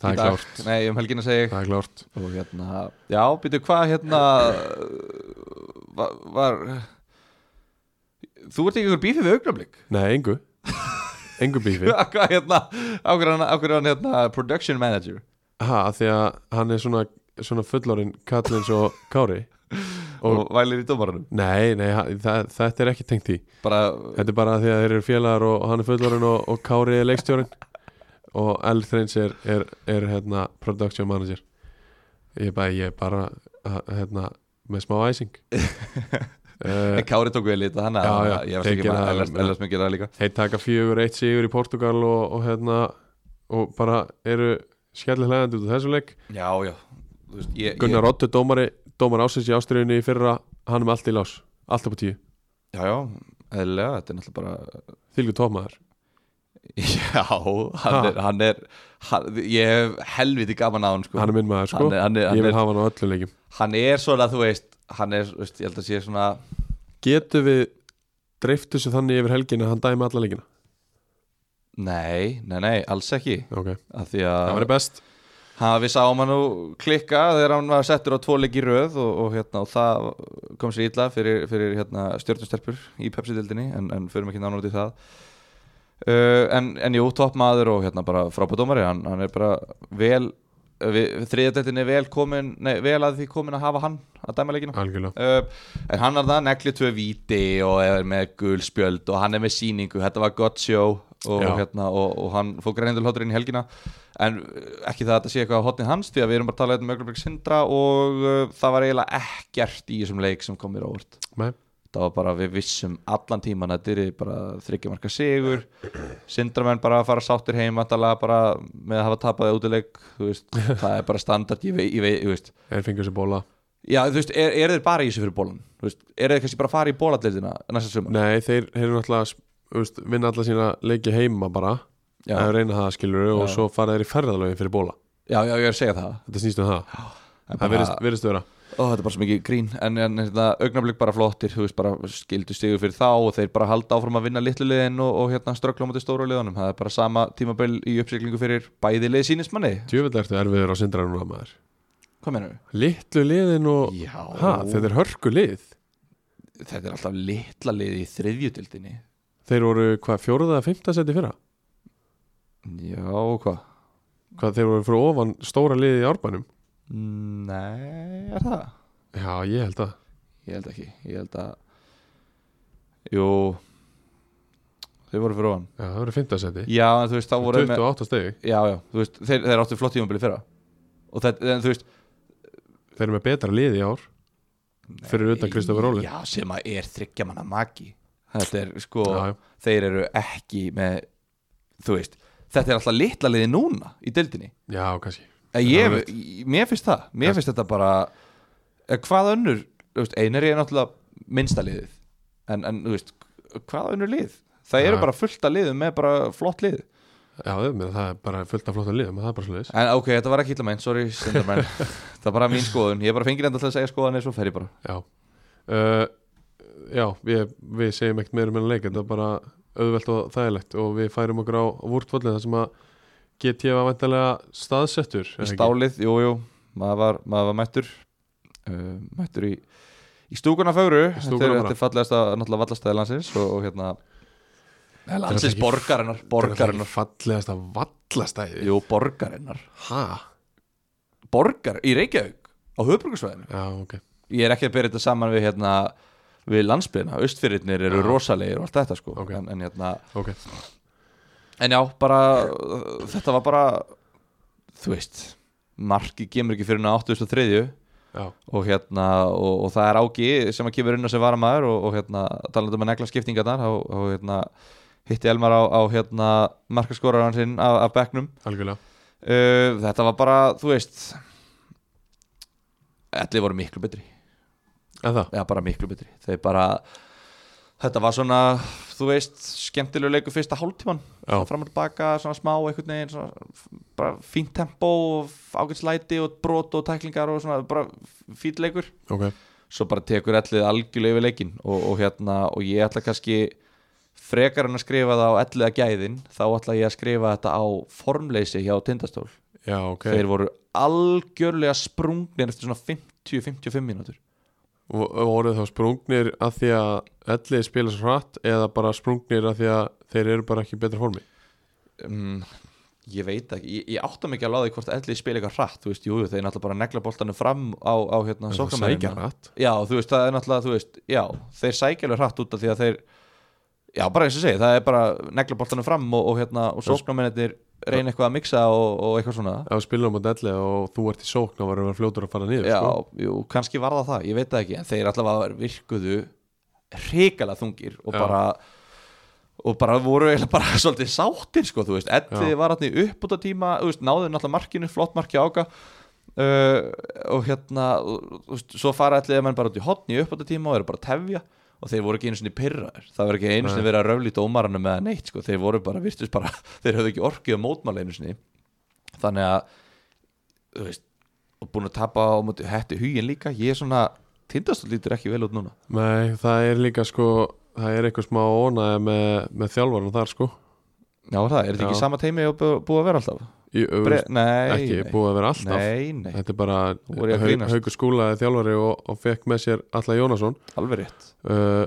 Það Í er dag. klárt. Nei, um helgina segi ég það er klárt Og hérna, já, býtu hvað hérna var, var Þú ert ekki einhver bífið við augnablík Nei, engu, engu bífi Hvað hérna, á hverju hann, á hverju hann hérna production manager Ha, af því að hann er svona, svona fullorinn kallins og kári Og, Og- vælir í dómarunum Nei, nei, ha- það, þetta er ekki tengt því Bara, Þetta er bara því að þeir eru félagar og hann er fullorinn og, og Kári er leikstjórin og L. Þreins er, er, er hérna, production manager Ég er bara, ég er bara ha- hérna, með smá æsing uh, en Kári tók vel í þetta Þannig að Já, já, ég þeir veist ekki gera það maður vel, já. Ellers mér gera það líka Þeir taka fjögur eitt sigur í Portugal og, og, hérna, og bara eru skellilegandi út af þessu leik Já, já Þú veist, ég, Gunnar Otto, dómari, dómar ásins í ástriðinu í fyrra, hann er með allt í lás allt upp á tíu, ég, Já, já, eðlilega, þetta er náttúrulega bara þýlgu tómaður Sko, Já, hann Ha? er, hann er hann, ég hef helviti gaman á hann sko. hann er minn maður sko, Hann er- hann er- hann ég vil er- hafa hann á öllu leikum hann er svona, þú veist hann er, þú veist, ég held að sé svona Getum við dreiftu þessu þannig yfir helgin að hann dæmi alla leikina? nei, nei, nei, alls ekki Ok, af því það að verður best hann, við sáum hann um nú klikka þegar hann var settur á tvo leiki í röð og, og, hérna, og það kom sér illa fyrir, fyrir hérna, stjórnustelpur í Pepsi-dildinni en, en förum ekki nánar út í það uh, en, en jú, toppmaður og hérna bara frábædómari, hann, hann er bara vel þriðadeltin er vel komin nei, vel að því komin að hafa hann að dæma leikina Algjörlega, uh, en hann er það negli tvö víti og er með gul spjöld og hann er með síningu, þetta var gott sjó og, Já. hérna, og, og hann fór greinindulháttur inn í helgina en uh, ekki það að þetta sé eitthvað á hotnið hans því að við erum bara að tala eh, hérna um Öglubrik Sindra og uh, það var eiginlega ekkert í þessum leik sem kom mér á óvart nei, það var bara við vissum allan tíman að þetta er bara þryggjumarka sigur sindramenn bara að fara sáttir heim vantarlega bara með að hafa tapaði útileik þú veist, það er bara standard ég vei, ég vei, ég veist Þeir fengur sér bóla Já, þú veist, er, er þeir bara í þessu fyrir bólan? Þú veist, er þeir kannski bara að fara í bólatleitina næsta sumar? Nei, þeir þeir eru náttúrulega þú veist, vinna alla sína leiki heima bara Já, að reyna það skilur og Já. svo fara þeir í ferðalögin fyrir bóla já, já, ég er að segja það. Þetta snýst um það, En það bara- virðist, virðist vera Ó, þetta er bara svo mikið grín en, en hérna, augnablík bara flottir þú veist bara skildu stigur fyrir þá og þeir bara halda áfram að vinna litlu liðin og, og hérna ströggla á móti stóru liðunum það er bara sama tímabil í uppsiklingu fyrir bæði lið sínismanni Djöfell ertu erfiður á sindra núna maður hvað menur við? Litlu liðin og Já, ha, Þetta er hörku lið þetta er alltaf litla lið í þriðjutildinni Þeir voru hvað fjóruða að fymta seti fyrra Já, og hvað? Hvað þeir voru fyrir ofan stóra liði í árbænum Nei, er það? Já, ég held að Ég held ekki, ég held að Jú Þau voru fyrir ofan Já, það voru fymta seti Já, en þú veist, þá voru þeir með- 28 stegi, Já, já, þú veist, þeir, þeir áttu flott tímabili fyrra og þetta, en þú veist þeir eru með betra liði í ár Fyrir utan Kristoffer Óli Já, sem að er þryggja manna maki Þetta er sko, Já, já. þeir eru ekki með, þú veist Þetta er alltaf litla liði núna í deildinni Já, kannski En Já, ég, rétt. ég- mér finnst það, mér Já. finnst þetta bara eh, Hvað önnur, þú veist, einar er náttúrulega minnsta liðið En, en þú veist, hvað önnur lið? Það eru Já. bara fullt að liðum með bara flott lið Já, ég meina, það er bara fullt af flottum liðum Það er bara svo En ok, þetta var ekki illa meint, sorry, sindarmenn Það er bara mín skoðun, ég er bara fengir enda til að segja skoðan eins og fer ég bara Já, uh, já við, við segjum ekkert meira um enn leik þetta er bara auðvelt og þægilegt og við færum okkur á vúrtvöldin þar sem að GT var vantarlega staðsettur er í það ekki? stálið, jú, jú maður var, maður var mættur uh, mættur í, í stúkuna fögru þetta er, stúkuna þetta bara. er fallegasta, náttúrulega vallastæði landsins og, og hérna Nei, landsins ekki- borgarinnar, Þetta er borgarinnar fallegasta vallastæði jú, borgarinnar, Hæ? borgar í Reykjavík á höfbrukusvæðinu, Já, ok ég er ekki að byrja þetta saman við hérna, við landsbyrna austfyrirnir eru Já. rosalegir og allt þetta sko Ok. en, en hérna, Ok, en já, bara uh, þetta var bara þú veist, marki gemur ekki fyrir en á 83 já, og hérna og, og það er Ági sem að kemur inn og sem varamæður og, og hérna talandi um að negla skiptingarnar og, og hérna hitti Elmar á, á hérna markaskoraran sinn af, af bekknum algjörlega uh, þetta var bara, þú veist allir voru miklu betri En það, eða bara miklu betri þeir bara, þetta var svona þú veist, skemmtilegu leiku fyrsta hálftíman já, fram og tilbaka, svona smá einhvern veginn, svona f- bara fínt tempó og ágætslæti og brot og tæklingar og svona bara fýt leikur ok svo bara tekur ellið algjörlega yfir leikin og, og hérna, og ég ætla kannski frekar en að skrifa það á elliða gæðin, þá ætla ég að skrifa þetta á formleysi hjá tindastól Já, ok þeir voru algjörlega sprungnir eftir svona 50-55 mínútur Vo- Voru þá sprungnir að því að ellið spila svo hratt eða bara sprungnir að því að þeir eru bara ekki í betra formi um, ég veit ekki, ég, ég átta mikið að láði hvort ellið spila eitthvað hratt, þú veist, jú, þeir náttúrulega bara negla boltanum fram á, á En hérna, það sækja sóknarmennina. hratt Já, þú veist, það er náttúrulega, þú veist, já, þeir sækja alveg hratt út af því að þeir Já, bara eins og segja, það er bara neglaboltanum fram og, og hérna, og sóknarmennir reyna eitthvað að mixa og, og eitthvað svona ef við spilum á delli og þú ert í sókn þá varum við fljótur að fara niður Já, sko. jú, kannski var það það, ég veit það ekki en þeir allavega virkuðu hrikalega þungir og Já. bara og bara voru eiginlega bara svolítið sáttir sko, þú veist, Eddi Já. var hann í uppbúta tíma, þú veist, náðu náttúrulega markinu flott marki áka uh, og hérna, og, þú veist, svo fara allir að menn bara út í hotn í uppbúta tíma og eru bara að tefja og þeir voru ekki einu sinni pyrraðir það var ekki einu sinni Nei. verið að röfli dómaranum eða neitt, sko, þeir voru bara, virtust bara þeir höfðu ekki orkið að mótmála einu sinni þannig að, þú veist og búin að tapa á móti hættu hugin líka, ég er svona tindastóð lítur ekki vel út núna Nei, það er líka sko það er eitthvað smá ónæði með, með þjálfarnum þar sko Já, er það, er þetta ekki Já. sama teimi og bú- búið að vera alltaf? í, Bre Bre nei, ekki nei. búið að vera alltaf Nei, nei, þetta er bara Nú er ég að Hau- grínast. Haukur Skúla er þjálfari og, og fekk með sér Alla Jónasson alveg rétt uh,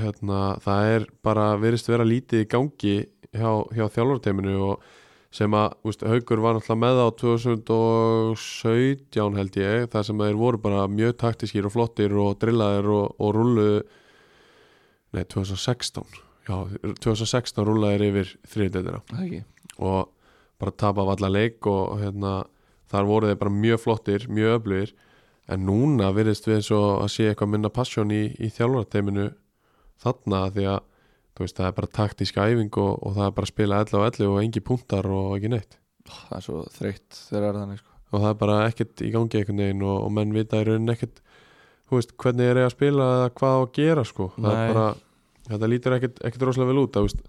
hérna, það er bara verist vera lítið í gangi hjá, hjá þjálfarteiminu og sem að úst, Haukur var náttúrulega með á 2017 held ég þar sem þeir voru bara mjög taktískir og flottir og drillaðir og, og rullu nei 2016 já 2016 rúlaðir yfir þriðdeldina Það ekki og bara tapa af alla leik og hérna, þar voru þeir bara mjög flottir, mjög öflugir en núna virðist við eins og að sé eitthvað minna passion í, í þjálfarateiminu þarna af því að þú veist, það er bara taktíska æfing og, og það er bara að spila 11 á 11 og engi punktar og ekki neitt það er svo þreytt þegar það er þannig sko. og það er bara ekkert í gangi einhvern veginn og, og menn vita í raunin ekkert þú veist, hvernig er ég að spila eða hvað á að gera sko. það Nei. er bara, þetta lítur ekkert, ekkert rosalega vel út það, veist.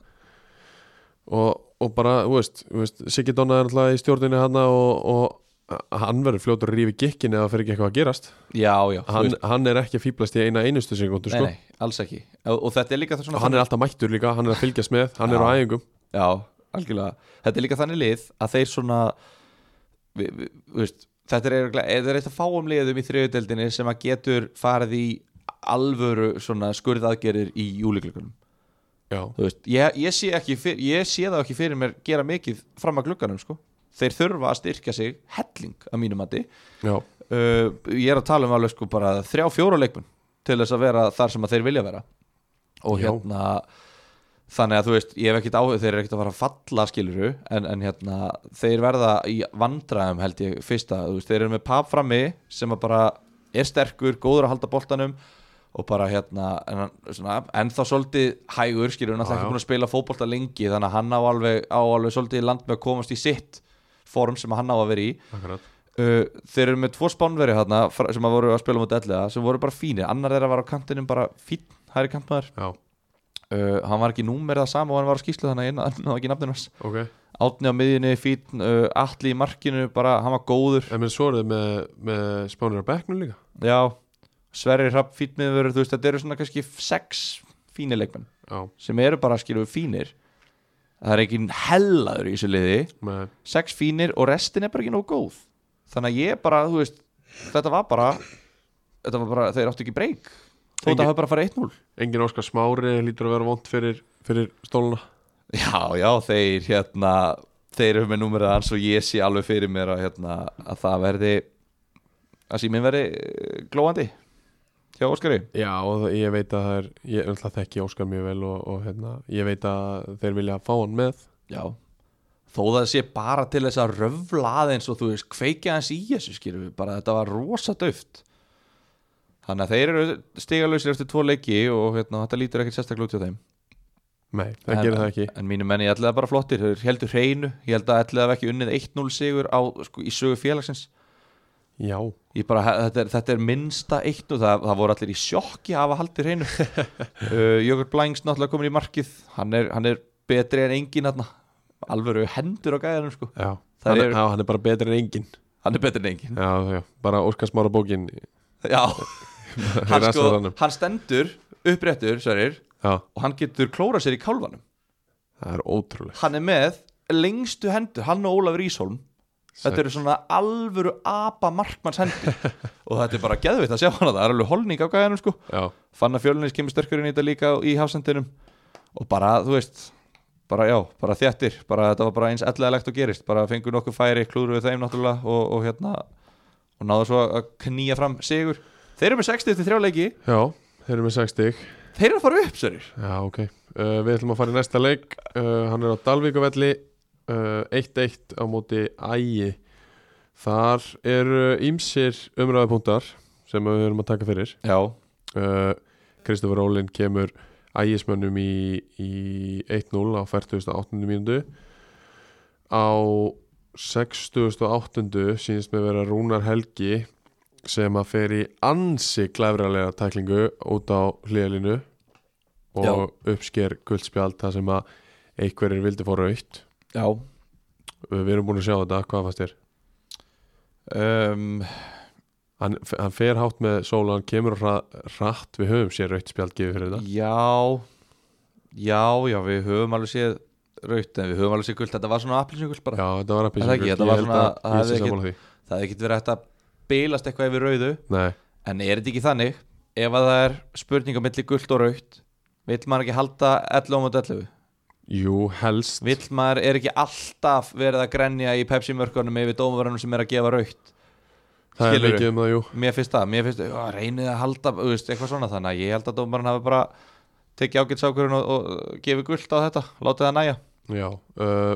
Og, og bara, þú veist, þú veist Siggi Donna er alltaf í stjórninni hana og, og hann verður fljótur að rífi gikkin eða fer ekki eitthvað að gerast já, já, þú hann, veist, hann er ekki að fíblast í eina einustu sekundu nei, sko. nei, alls ekki og, og þetta er líka það og svona hann er alltaf mættur líka, hann er að fylgjast með hann er á Já. æfingum Já, algjörlega Þetta er líka þannig lið að þeir svona vi, vi, veist, Þetta er, örugglega- eh, þetta er eitt af fáum liðum í þriðudeldinni sem að getur farið í alvöru svona skurðaðgerir í júliklökunum Já. Þú veist, ég, ég, sé ekki fyr, ég sé það ekki fyrir mér gera mikið fram að glugganum sko. Þeir þurfa að styrkja sig helling að mínum mati Já. uh, Ég er að tala um alveg sko bara þrjá fjóra leikmenn til þess að vera þar sem að þeir vilja vera og Já. hérna þannig að þú veist, ég hef ekkert áhuga þeir eru ekkert að fara að falla skiluru en, en hérna, þeir verða í vandræðum held ég fyrsta, þú veist, þeir eru með pap frammi sem að bara er sterkur góður að halda boltanum og bara hérna, en, hann- svona, ennþá svolítið hægur, skilur, hann Já, alltaf já. ekki búin að spila fótbolta lengi, þannig að hann á alveg, á alveg svolítið í land með að komast í sitt form sem hann á að vera í Akkurat. uh, þeir eru með tvo spánveri hérna sem að voru að spila mútið ellega sem voru bara fínir, annar þeirra var á kantinum bara fín hæri kantmaður, Já. uh, hann var ekki númerið að sama og hann var á skýslu þannig að hann var ekki nafninu hans ok átni á miðjunni, fín, uh, alli í markinu bara, hann var góður, en mér svoruð með, með spánir á bekknum líka já Sverri Rapp, fín miðvörður, þú veist, þetta eru svona kannski sex fínir leikmenn Já. sem eru bara, skilur við, fínir það er ekki hellaður í þessu liði Með, sex fínir og restin er bara ekki nóg góð þannig að ég bara, þú veist þetta var bara, þetta var bara þeir áttu ekki breyk þó Engin- þetta hafa bara farið 1-0 engin Óskar Smári lítur að vera vond fyrir, fyrir stóluna já, já, þeir hérna þeir eru með númerið hans og ég sé alveg fyrir mér að, hérna, að það verði að síminn verði eh, glóandi hjá Óskari Já og það- ég veit að það er ég er alltaf þekki Óskar mjög vel og, og hérna, ég veit að þeir vilja fá hann með já, þó það sé bara til þess að röfla aðeins og þú veist kveikja hans í þessu skilur við bara þetta var rosa döft þannig að þeir eru stigalausir eftir tvo leiki og hérna, þetta lítur ekkert sérstaklega út hjá þeim Nei, það En- gerir það ekki En mínu menni, ég ætlaði bara flottir Þeir heldur hreinu, ég held að ætlaði ekki unnið 1-0 sigur á, sko, í sögu félagsins Já, Ég bara, þetta er, þetta er minnsta 1-0 það, það voru allir í sjokki að hafa haldið hreinu uh, Jökur Blængs náttúrulega komin í markið Hann er, hann er betri en engin hann Alvöru hendur á gæðanum sko. já Það hann, eru- er, já, hann er bara betri en engin Hann er betri en engin Já, já, bara Óskar Smára bókin Já, hann, Rest sko, af honum. hann stendur uppréttur sverir, Já, og hann getur klórað sér í kálfanum það er ótrúlega Hann er með lengstu hendur Hann og Ólafur Ísholm Þetta Sæt. eru svona alvöru apa markmanns hendur og þetta er bara geðveitt að sjá hana það er alveg holning á gæðanum sko Já, fann að fjölunis kemur sterkur inn í þetta líka í hafsendinum og bara, þú veist bara já, bara þjættir, bara þetta var bara eins ellegalegt og gerist, bara fengur nokkuð færi klúður við þeim náttúrulega og, og hérna og náðu svo að knýja fram sigur þeir eru með 60 til 3 leiki já, þeir eru með 6 stig þeir eru að fara upp, sérir Já, ok uh, Við ætlum að fara í næsta leik uh, Hann er á Dalvíkavelli uh, 1-1 á móti Ægi Þar eru ýmsir umræðupunktar sem við erum að taka fyrir já, uh, Kristofur Rólin kemur ægismönnum í, í 1-0 á 48. mínútu á 68. sínist með vera Rúnar Helgi sem að fer í ansi glæfralega tæklingu út á hliðalínu og Já. uppsker guldspjald þar sem að einhverjir vildi fóra aukt já Eh, við erum búin að sjá þetta, hvað fannst þér? um, Hann, hann fer hátt með sóla, hann kemur ra rætt við höfum sér aukt spjald gefið fyrir þetta já já, já, við höfum alveg séð raut, en við höfum alveg séð guld þetta var svona appilsingult bara Já, þetta var að Er það ekki? Þetta var svona- það Ég hefði sé ekki- saman á því það hefði ekkert verið hægt að bilast eitthvað yfir rauðu Nei, en er þetta ekki þannig ef að það er spurning á milli gult og raukt vill maður ekki halda 11 á mot 11 jú, helst vill maður er ekki alltaf verið að grenja í Pepsi mörkunum yfir dómaverðunum sem er að gefa raukt Það er skilurðu? mikið um það, jú mér finnst það, mér finnst það, reynið að halda þú veist, eitthvað svona þannig að ég held að dómarinn hafi bara tekið ágætsákurinn og, og gefið gult á þetta, látið það næja Já, uh,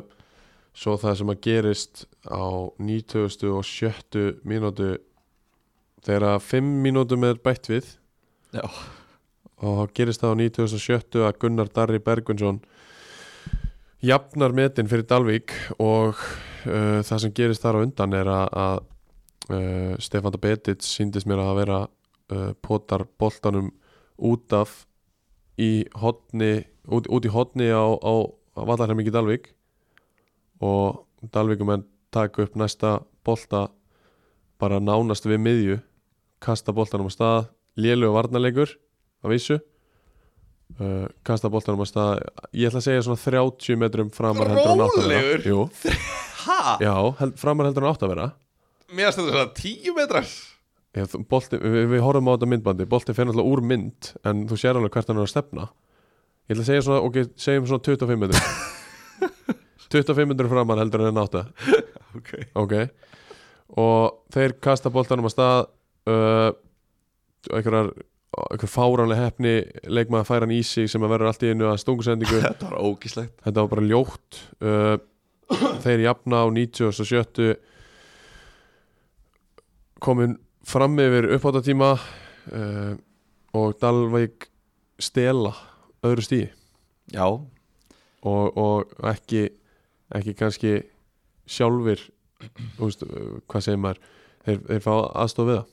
svo það sem að gerist á 90. og 70. mínútu þegar að 5 mínútum er bætt við Já. og þá gerist það á 97. að Gunnar Darri Bergvinsson jafnar metin fyrir Dalvík og uh, það sem gerist þar á undan er að, að uh, Stefán Betic síndist mér að vera uh, potar boltanum út af í hotni, út, út í hotni á, á Vallarheimingi Dalvík og Dalvíkumenn taka upp næsta bolta bara nánast við miðju kasta boltanum á stað lélugu varnarleikur að vísu uh, kasta boltanum á stað ég ætla að segja svona 30 metrum framar heldur en átt að vera Rólegur? Jú, Ha? já, held, framar heldur en átt að vera Mér finnst þetta svona 10 metrar Já, þú- bolti, við, við horfum á þetta myndbandi bolti fer náttúrulega úr mynd en þú sér alveg hvert hann er að stefna ég ætla að segja svona, ok, segjum svona 25 metrum 25 metrum framar heldur en átta okay. ok og þeir kasta boltanum að stað uh, einhverjar einhver fáránlega hefni leikmaður fær hann í sig sem að verður allt í einu að stungusendingu Þetta var ógíslegt þetta var bara ljótt uh, þeir jafna á 97 komin fram yfir uppáttatíma uh, og Dalvæk stela öðru stíi Já, og, og ekki ekki kannski sjálfir úst, hvað segir maður þeir, þeir fá aðstof við það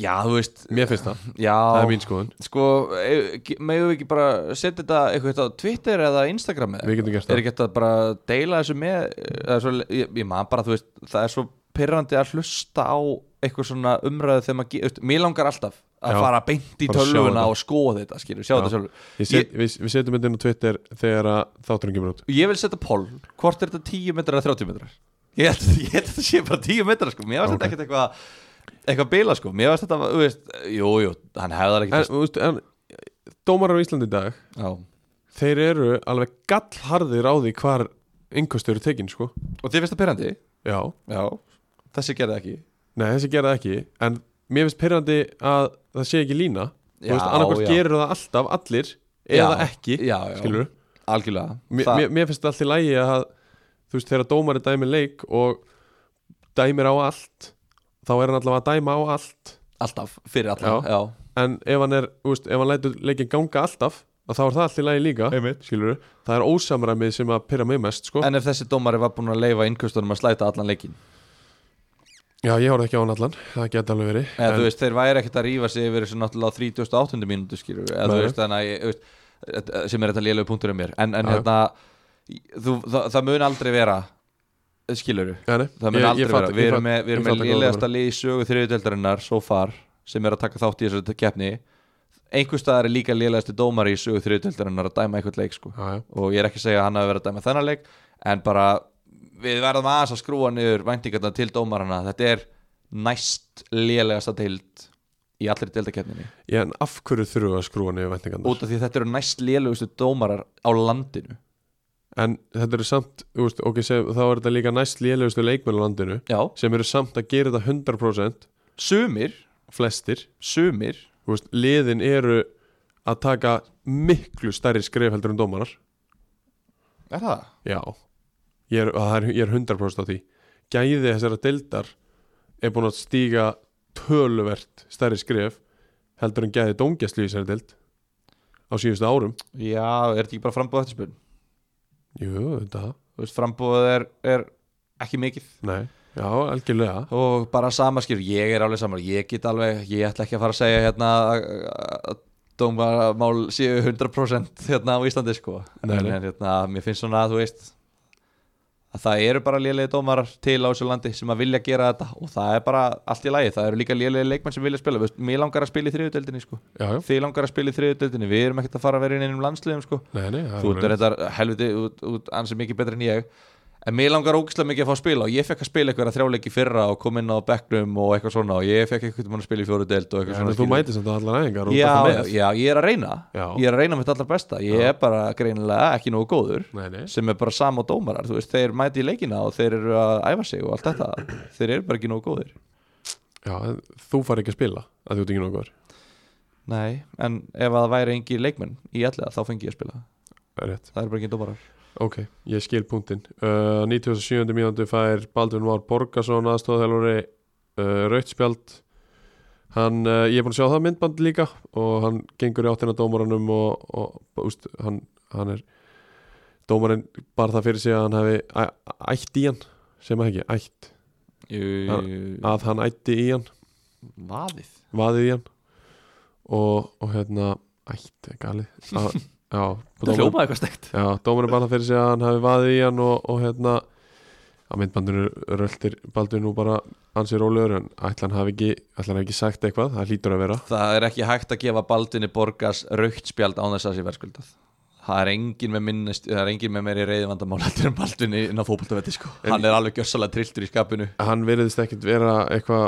já þú veist mér finnst það, Já, það er mín skoðun sko, meðum við ekki bara setja þetta eitthvað á Twitter eða Instagram eða? við getum gert Er það ekki hægt að bara deila þessu með eða svo, ég, ég man bara, þú veist, það er svo pyrrandi að hlusta á eitthvað svona umræðu þegar maður, ge- þú veist, mér langar alltaf að Já. fara beint í Bara sjá tölvuna þetta. og skoða þetta, skilju, sjá Já. þetta sjálfur Ég set, við, við setjum þetta inn á Twitter þegar að þátturinn kemur út Ég vil setja pól, hvort er þetta 10 metrar eða 30 metrar? Ég held, ég held að þetta sé bara 10 metrar, sko, mér varst Ok. þetta ekkert eitthvað eitthvað bila, sko, mér varst þetta, þú veist jú, jú, hann hefðar en, ekkert úst, en dómarar á Íslandi í dag Já. þeir eru alveg gallharðir á því hvar yngkast eru tekin sko Og þið finnst það pyrrandi? já, Já, þessi gerði ekki nei þessi gera það ekki en mér finnst pyrrandi að það sé ekki lína þú Já, veist, annarkvort já. gerur það alltaf allir eða Já, ekki, já, já. skilur Algjörlega mér, Það- mér, mér finnst allt í lægi að þú veist, þegar dómari dæmir leik og dæmir á allt þá er hann allavega að dæma á allt Alltaf, fyrir Já. alltaf, já, en ef hann er, þú veist, ef hann lætur leikin ganga alltaf að þá er það allt í lægi líka Einmitt. skilur, það er ósamræmið sem að pyrra mig mest sko. En ef þessi dómari var búin að leifa innkustunum að slæta allan leikin já, ég horfði ekki á hann allan, það geti alveg verið eða þú en, veist, þeir væri ekkert að rífa sig yfir þessu náttúrulega á 38. mínútu skilur eða þú Nei. veist, þannig að ég, þú veist, þetta- sem er þetta lélög punktur um mér en, en Já, já. hérna, þú, það, það mun aldrei vera skilur ja, nei, það mun aldrei vera, við erum með, við ég erum með fatta hvað þú lélegasta meinar. lið í sögu þriðuteldarinnar so far, sem er að taka þátt í þessari keppni einhver staðar er líka lélegasti dómari í sögu þriðuteldarinnar að dæma einhvern leik sko. Já, já. og ég er ekki að segja að hann hafi verið að dæma þennan leik en bara við verðum aðeins að skrúa niður væntingarna til dómarana þetta er næst lélegasta deild í allir deildakeppninni Já, en af hverju þurfum við að skrúa niður vendingarnar út af því þetta eru næst lélegustu dómarar á landinu en þetta eru samt, þú veist, ok, sem, þá er þetta líka næst lélegustu leikmenn á landinu já, sem eru samt að gera þetta 100% sumir, flestir, sumir þú veist, liðin eru að taka miklu stærri skref heldur en dómarar er það? já, ég er, það er, ég er 100% á því gæði þessara deildar er búin að stíga töluvert stærri skref heldur en gæði dóngjastlu í þessari deild á síðustu árum já, er þetta ekki bara frambúð eftir spurn? jú, þetta, þú veist, frambúð er, er ekki mikið nei já, algjörlega og bara samaskýr, ég er alveg saman ég get alveg, ég ætla ekki að fara að segja hérna að- að dómarmál séu 100% hérna á Íslandi sko Nei, nei. en hérna, mér finnst svona að þú veist að það eru bara lélegi dómarar til á þessu landi sem að vilja gera þetta og það er bara allt í lagi, það eru líka lélegi leikmenn sem vilja spila, Þú veist, mér langar að spila í þriðutöldinni sko, já, já, þið langar að spila í þriðutöldinni við erum ekkert að fara að vera inn einum landsliðum sko nei, nei það þú ert alveg- reyndar helviti út, út ansið mikið betri en ég en mér langar ógislega mikið að fá að spila og ég fekk að spila eitthvað þrjáleiki fyrra og kom inn á bekknum og eitthvað svona og ég fekk eitthvað mann að spila í fjóru deild Já, og eitthvað en svona þú skilur. mætir samt að allar æfingar og þú ert alltaf já, með. já, ég er að reyna Já. ég er að reyna mitt allar besta ég er bara greinilega ekki nógu góður Nei, nei. sem er bara sam og dómarar þú veist, þeir mæti í leikina og þeir eru að æfa sig og allt þetta, þeir eru bara ekki nógu góðir Já, en þú fari ekki að spila að þú ert ekki nokkuð nei, en ef að það væri engi leikmenn í allega þá fengi ég að spila Rétt. það eru bara ekki dómarar Ok, ég skil punktinn uh, 97. mínúti fær Baldvin Már Borgarsson aðstofþjálfari uh, Rautspjald hann, uh, ég er búin að sjá það myndband líka og hann gengur í áttina að dómaranum og, og úst, hann, hann er dómarinn bara það fyrir sig að hann hefði æ- ætt í hann sem ekki, ætt, Jú, að hann ætti í hann vaðið vaðið í hann og, og hérna, ætt, galið að, já, Það dómarinn- hljópaði eitthvað stegt Já, dómarinn bara fyrir sig að hann hafi vaðið í hann og, og hérna að myndbandinu röltir Baldur nú bara ansi rólegur en ætla hann hafi ekki, ætla hann hafi ekki sagt eitthvað, það hlýtur að vera Það er ekki hægt að gefa Baldvinni Borgas raukt spjald án þess að það sé verðskuldað Það er engin með minnist Það er engin með meiri reyðvandamál Þetta er um Baldvinni inn á fótboltavelli sko En- Hann er alveg gjössalega trilltur í skapinu Hann veriðist ekkit vera eitthvað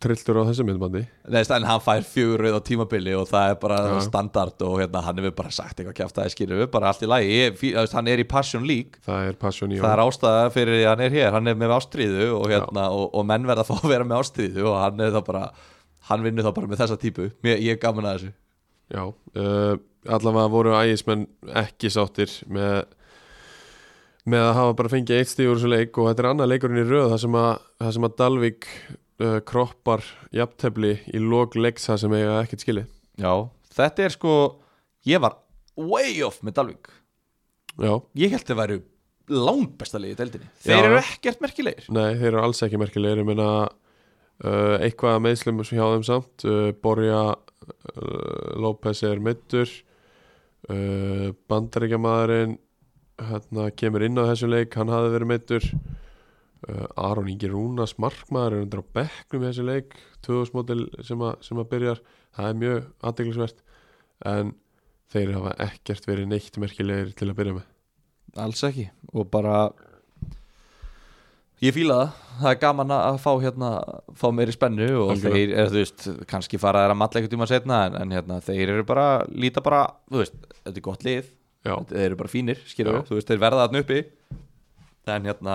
trilltur á þessu myndbandi Neðist en hann fær fjögur rauð á tímabili og það er bara Já. standard og hérna hann hefur bara sagt eitthvað kjáft að það skilur við bara allt í lagi Ég, fí, þú veist, Hann er í Passion League Það er passion í Það honum. er ástæða fyrir því að hann er hér, hann er með ástríðu og, hérna, og, og menn verða að fá að vera með ástríðu og hann er það bara, hann vinnur það bara með þessa típu, Mér, ég er gaman að þessu Já, uh, allavega voru ægismenn ekki sáttir með, með að hafa bara fengið eitt stíð úr þessu leik og þetta er annað leikurinn í röð þar sem að, þar sem að Dalvik uh, kroppar jafntefli í lok leiks það sem eiga ekkert skili Já, þetta er sko, ég var way off með Dalvik, Já, ég held þeir væru langbesta liðið í deildinni, þeir Já. eru ekkert merkilegir nei, þeir eru alls ekki merkilegir ég meina uh, eitthvað að meðslum sem hjá þeim samt uh, Borja uh, López er middur uh, bandaríkjamaðurinn hérna, kemur inn á þessum leik hann hafði verið middur uh, Aron Ingi Rúnas markmaður er undir á bekknum í þessum leik 2000-mótil sem, að- sem að byrjar það er mjög aðdeglisvert en þeir hafa ekkert verið neitt merkilegir til að byrja með Alls ekki og bara Ég fíla það, það er gaman að fá hérna, fá meiri spennu og Algjörlega. þeir, er, þú veist, kannski fara þeir að matla einhvern tíma setna en, en hérna, þeir eru bara, líta bara, þú veist, þetta er gott lið, Já, þeir eru bara fínir, skilur Já. þú veist, þeir verða þarna uppi en hérna,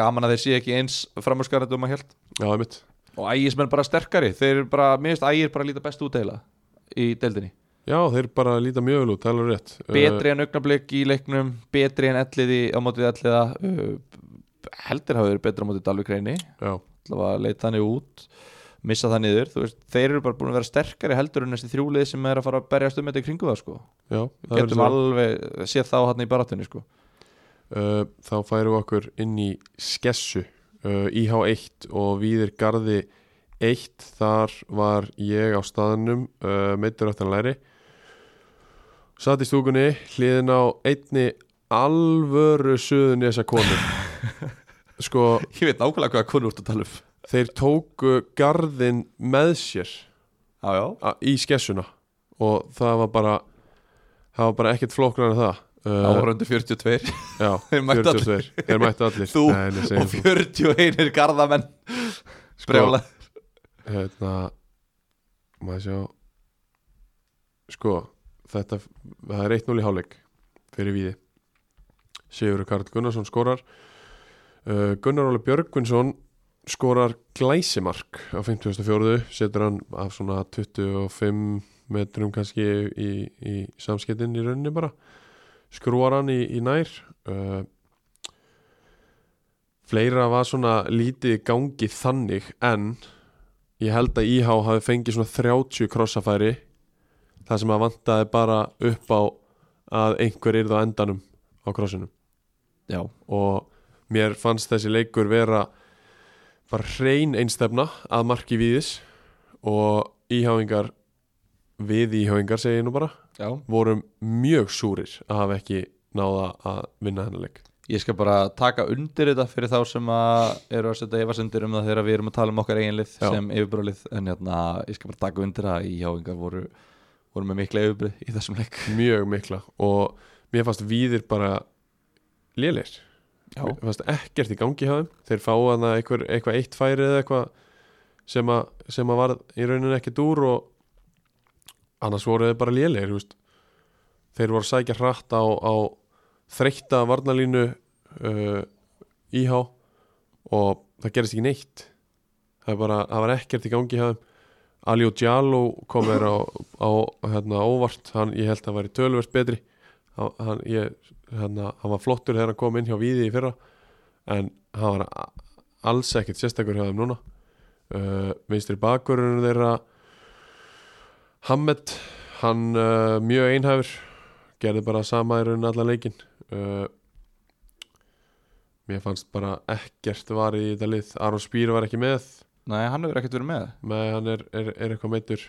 gaman að þeir sé ekki eins framhúskarandi um að held já, einmitt og ægismenn bara sterkari, þeir eru bara, mér finnst ægir bara líta best út eila í deildinni Já, þeir bara líta mjög vel út, það er alveg rétt Uh, betri en augnablik í leiknum betri en elliði á mótið elliða uh, heldur hafa verið betri á mótið Dalvik reyni, Já, allavega leita þannig út missa það niður, þú veist, þeir eru bara búin að vera sterkari heldur en þessi þrjúlið sem er að fara að berjast um þetta í kringu það sko, já það er getum svo. alveg séð þá hann í barátunni sko Uh, Þá færum við okkur inn í skessu uh, IH1 og Víðir Garði 1 Þar var ég á staðnum uh, meittur aftan að læri Satt í stúkunni hliðin á einni alvöru suðunni þessa konu Sko, ég veit nákvæmlega hvað konu út að tala um þeir tóku Garðin með sér já, já, a- í skessuna og það var bara það var bara ekkert flóknar en það það uh, voru undir 42 Já, Þeir mættu 42 Þeir mættu allir Þú Nei, nei, segjum og 41 garðamenn brjóla Hérna Maður sjá Sko, þetta Það er 1-0 í hálfleik Fyrir víði Sigurður Karl Gunnarsson skorar uh, Gunnar Óli Björgvinsson skorar glæsimark á 54. setur hann af svona 25 metrum kannski í, í samskettin í rauninni bara skrúar hann í, í nær uh, fleira var svona lítið í gangi þannig en ég held að IH hafi fengið svona 30 krossafæri þar sem að vantaði bara upp á að einhver yrði á endanum á krossinum já, og mér fannst þessi leikur vera bara hrein einstefna að marki víðis og íháingar við íháingar segi ég nú bara já vorum mjög súrir að hafa ekki náða að vinna hennar leik Ég skal bara taka undir þetta fyrir þá sem að eru að setja efasendur um það þegar við erum að tala um okkar eiginlið Já. sem yfirbróðlið en hérna, ég skal bara taka undir það að íhjáingar voru, voru með mikla yfirbróð í þessum leik mjög mikla og mér fannst víðir bara lélir Já, mér fannst ekkert í gangi hjá þeim þeir fá hana eitthvað, eitthvað eitt færi eða eitthvað sem, að- sem að var í rauninni ekkert úr og annars voru þeir bara lélegir þú veist. þeir voru að sækja hratt á, á þreytta varnalínu uh, íhá og það gerist ekki neitt það, er bara, það var ekkert í gangi hjá þeim Aljó Djaló kom er á, á hérna, óvart hann, ég held að hann væri tölvert betri hann, hann, ég hérna, hann var flottur þegar hann kom inn hjá Víði í fyrra en hann var a- alls ekkert sérstakur hjá þeim núna uh, vinstri bakvörunum þeirra Hammett hann uh, mjög einhæfur gerði bara sama í raunin allan leikinn uh, mér fannst bara ekkert var í þetta lið Aron Spýr var ekki með Nei, hann hefur ekkert verið með með hann er, er, er eitthvað meittur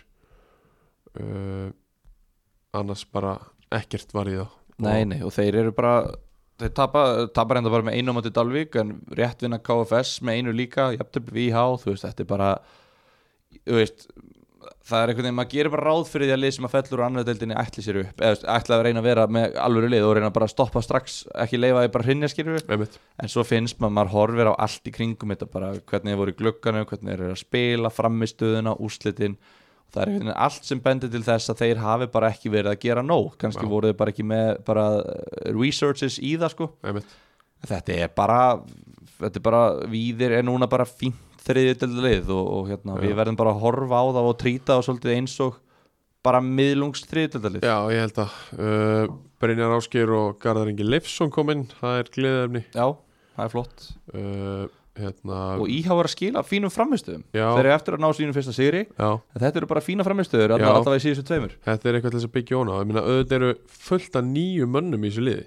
uh, annars bara ekkert var í þá Nei, nei, og þeir eru bara Þeir tapa, tapar enda bara með einu mátti Dalvík en rétt vinna KFS með einu líka jafntöfl við IH, þú veist, þetta er bara þú veist það er einhvern veginn, maður gerir bara ráð fyrir því að lið sem að fellur úr annar deildinni ætli sér upp eða þú veist, ætla að reyna að vera með alvöru lið og reyna bara að stoppa strax, ekki leifa því bara hrinjaskirfi Einmitt. en svo finnst maður, maður horfir á allt í kringum þetta bara, hvernig þeir voru í glugganum hvernig þeir eru að spila, framistöðuna, úslitin og það er einhvern veginn allt sem bendir til þess að þeir hafi bara ekki verið að gera nóg kannski Já. voru þeir bara ekki með bara eh, researches í það sko Einmitt. þetta er bara, þetta er bara víðir er núna bara fínt þriðið til lið og, og hérna, Já. við verðum bara að horfa á það og trýta og svolítið eins og bara miðlungs þriðið til lið Já, ég held að uh, Brynjar Ásgeir og Garðar Ingi Leifsson kom inn, það er gleðefni Já, það er flott uh, hérna, og íhá er að skila fínum framistöðum Já. þeir eru eftir að ná sínum fyrsta sigri já, En Þetta eru bara fína framistöður, Já. allavega allavega í síðustu tveimur þetta er eitthvað til þess að byggja óna ég meina, auðvitað eru fullt af nýju mönnum í þessu liði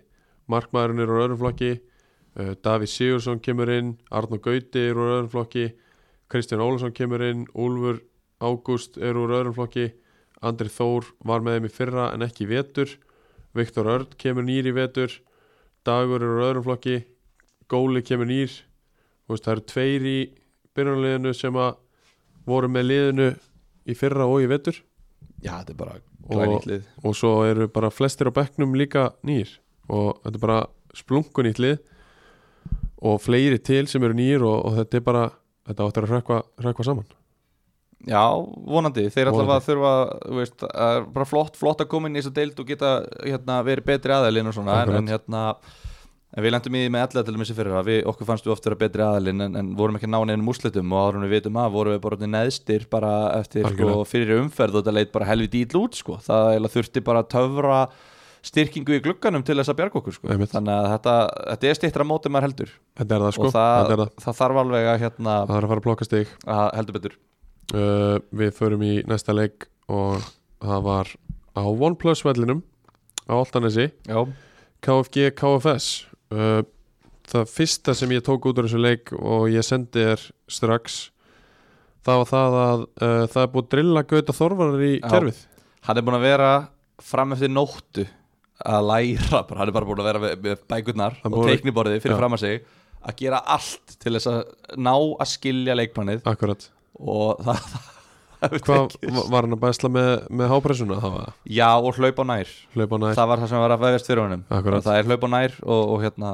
Markmaðurinn er úr öðrum flokki uh, Davíð Sigursson kemur inn Arnó Gauti er úr öðrum flokki Kristján Ólafsson kemur inn Úlfur Ágúst er úr öðrum flokki Andri Þór var með þeim í fyrra en ekki í vetur Viktor Örd kemur nýr í vetur Dagur er úr öðrum flokki Góli kemur nýr Þú veist, það eru tveir í byrjunarliðinu sem að voru með liðinu í fyrra og í vetur Já, þetta er bara glænýtt lið og svo eru bara flestir á bekknum líka nýr og þetta er bara splunkunýtt lið og fleiri til sem eru nýr og, og þetta er bara þetta áttur að hrökkva, hrökkva saman Já, vonandi, þeir Vonandi. allavega þurfa þú veist, að er bara flott, flott að koma inn í þessa deild og geta hérna, verið betri aðalinn og svona en, Akkurat. en hérna en við lendum í því með alla til þessi fyrir að við, okkur fannst við oft vera betri aðalinn en, en vorum ekki að ná neinum úrslitum og árum við vitum að vorum við bara orðnir neðstir bara eftir sko, Algjörlega. fyrir umferð og þetta leit bara helvið dýl út sko. það eiginlega þurfti bara að töfra styrkingu í glugganum til þess að bjarga okkur sko. Einmitt. þannig að þetta, þetta er stýttra mótið maður heldur þetta er það sko, og það, þetta er það. það þarf alveg að hérna það er að fara að plokka stig að heldur betur uh, við förum í næsta leik og það var á OnePlus vellinum á Altanesi já, KFG KFS uh, það fyrsta sem ég tók út úr þessu leik og ég sendi þér strax það var það að uh, það er búið að drilla gauta þorvarar í Já. kerfið hann er búin að vera fram eftir nóttu að læra, bara, hann er bara búin að vera með, með bækurnar Hann og búin að- teikniborðið fyrir Já. fram að sig að gera allt til þess að ná að skilja leikmannið akkurat, og það, það, það hefur hvað tekist. va- var hann að bæsla með, með hápressuna það var já og hlaupa á nær hlaupa nær, það var það sem var að vefjast fyrir honum akkurat það er hlaupa á nær og, og hérna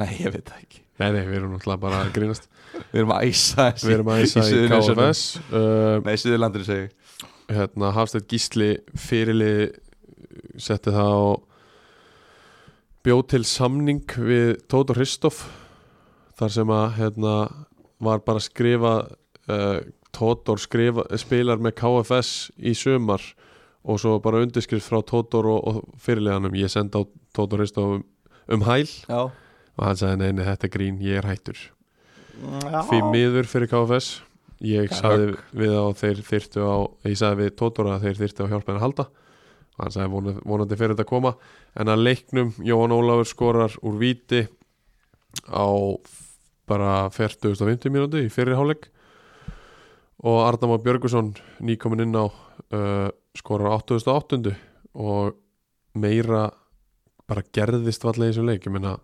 nei, ég veit það ekki nei, nei, við erum náttúrulega bara að grínast við erum að æsa við erum að æsa í Suðurnesjunum. KFS uh, nei, Suðurlandinu segi hérna, Hafstedt Gísli fyrirli setti það og bjóð til samning við Tóta Hristoff þar sem að hérna, var bara að skrifa uh, Tótor skrifa, spilar með KFS í sömar og svo bara undirskrift frá Tótor og, og fyrirleganum ég sendi á Tótor Hristoff um, um hæl já, og hann sagði neini þetta er grín, ég er hættur já. því miður fyrir KFS ég Það er sagði við á þeir þyrtu á ég sagði við Tótora að þeir þyrtu á hjálpa henni að halda og hann sagði vonandi, vonandi fyrir þetta að koma en að leiknum Jóhann Ólafur skorar úr víti á f- bara 40-50 mínúti í fyrri hálfleik og Arnamá Björgusson nýkomin inn á uh, skorar á 8800 og meira bara gerðist vallega í þessum leik ég meina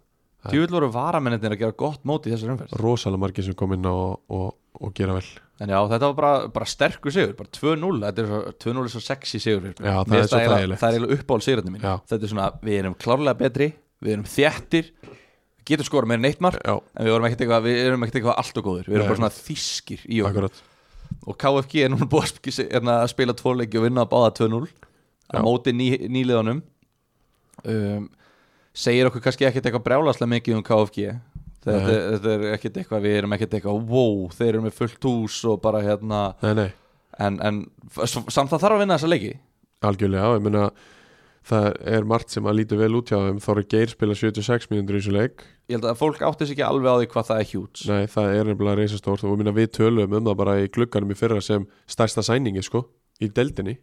Djúvill voru varamennir að gera gott móti í þessar umferð rosalega margir sem kom inn á og, og, og gera vel En já, þetta var bara, bara sterkur sigur, bara 2-0 Þetta er svo- 2-0 er svo sexy sigur fyrir mig. Já, það Mér er finnst svo eiginlega- þægilegt. Það er eiginlega uppáhald sigurðarnir mín Já. Þetta er svona, við erum klárlega betri Við erum þjættir Getum skora meira en eitt mark Já, En við, vorum ekkert eitthvað, við erum ekkert eitthvað allt og góður Við erum Nei. bara svona þýskir í okkur akkurat Og KFG er núna búið að sp- se- hérna, að spila tvoleiki og vinna að báða 2-0 Já. Að móti ný, nýliðanum um, Segir okkur kannski ekkert eitthvað brjálaslega mikið um KFG Þetta, þetta er ekkert eitthvað, við erum ekkert eitthvað Wow, þeir eru með fullt hús og bara hérna Nei, nei, en, en f- s- samt það þarf að vinna þessa leiki algjörlega, já, ég meina það er margt sem að líti vel út hjá þeim Þóri Geir spila 76 mínútur í þessu leik Ég held að fólk átti þess ekki alveg á því hvað það er huge Nei, það er nefnilega reisastórt og minna við tölum um það bara í glugganum í fyrra sem stærsta sæningi sko í deldinni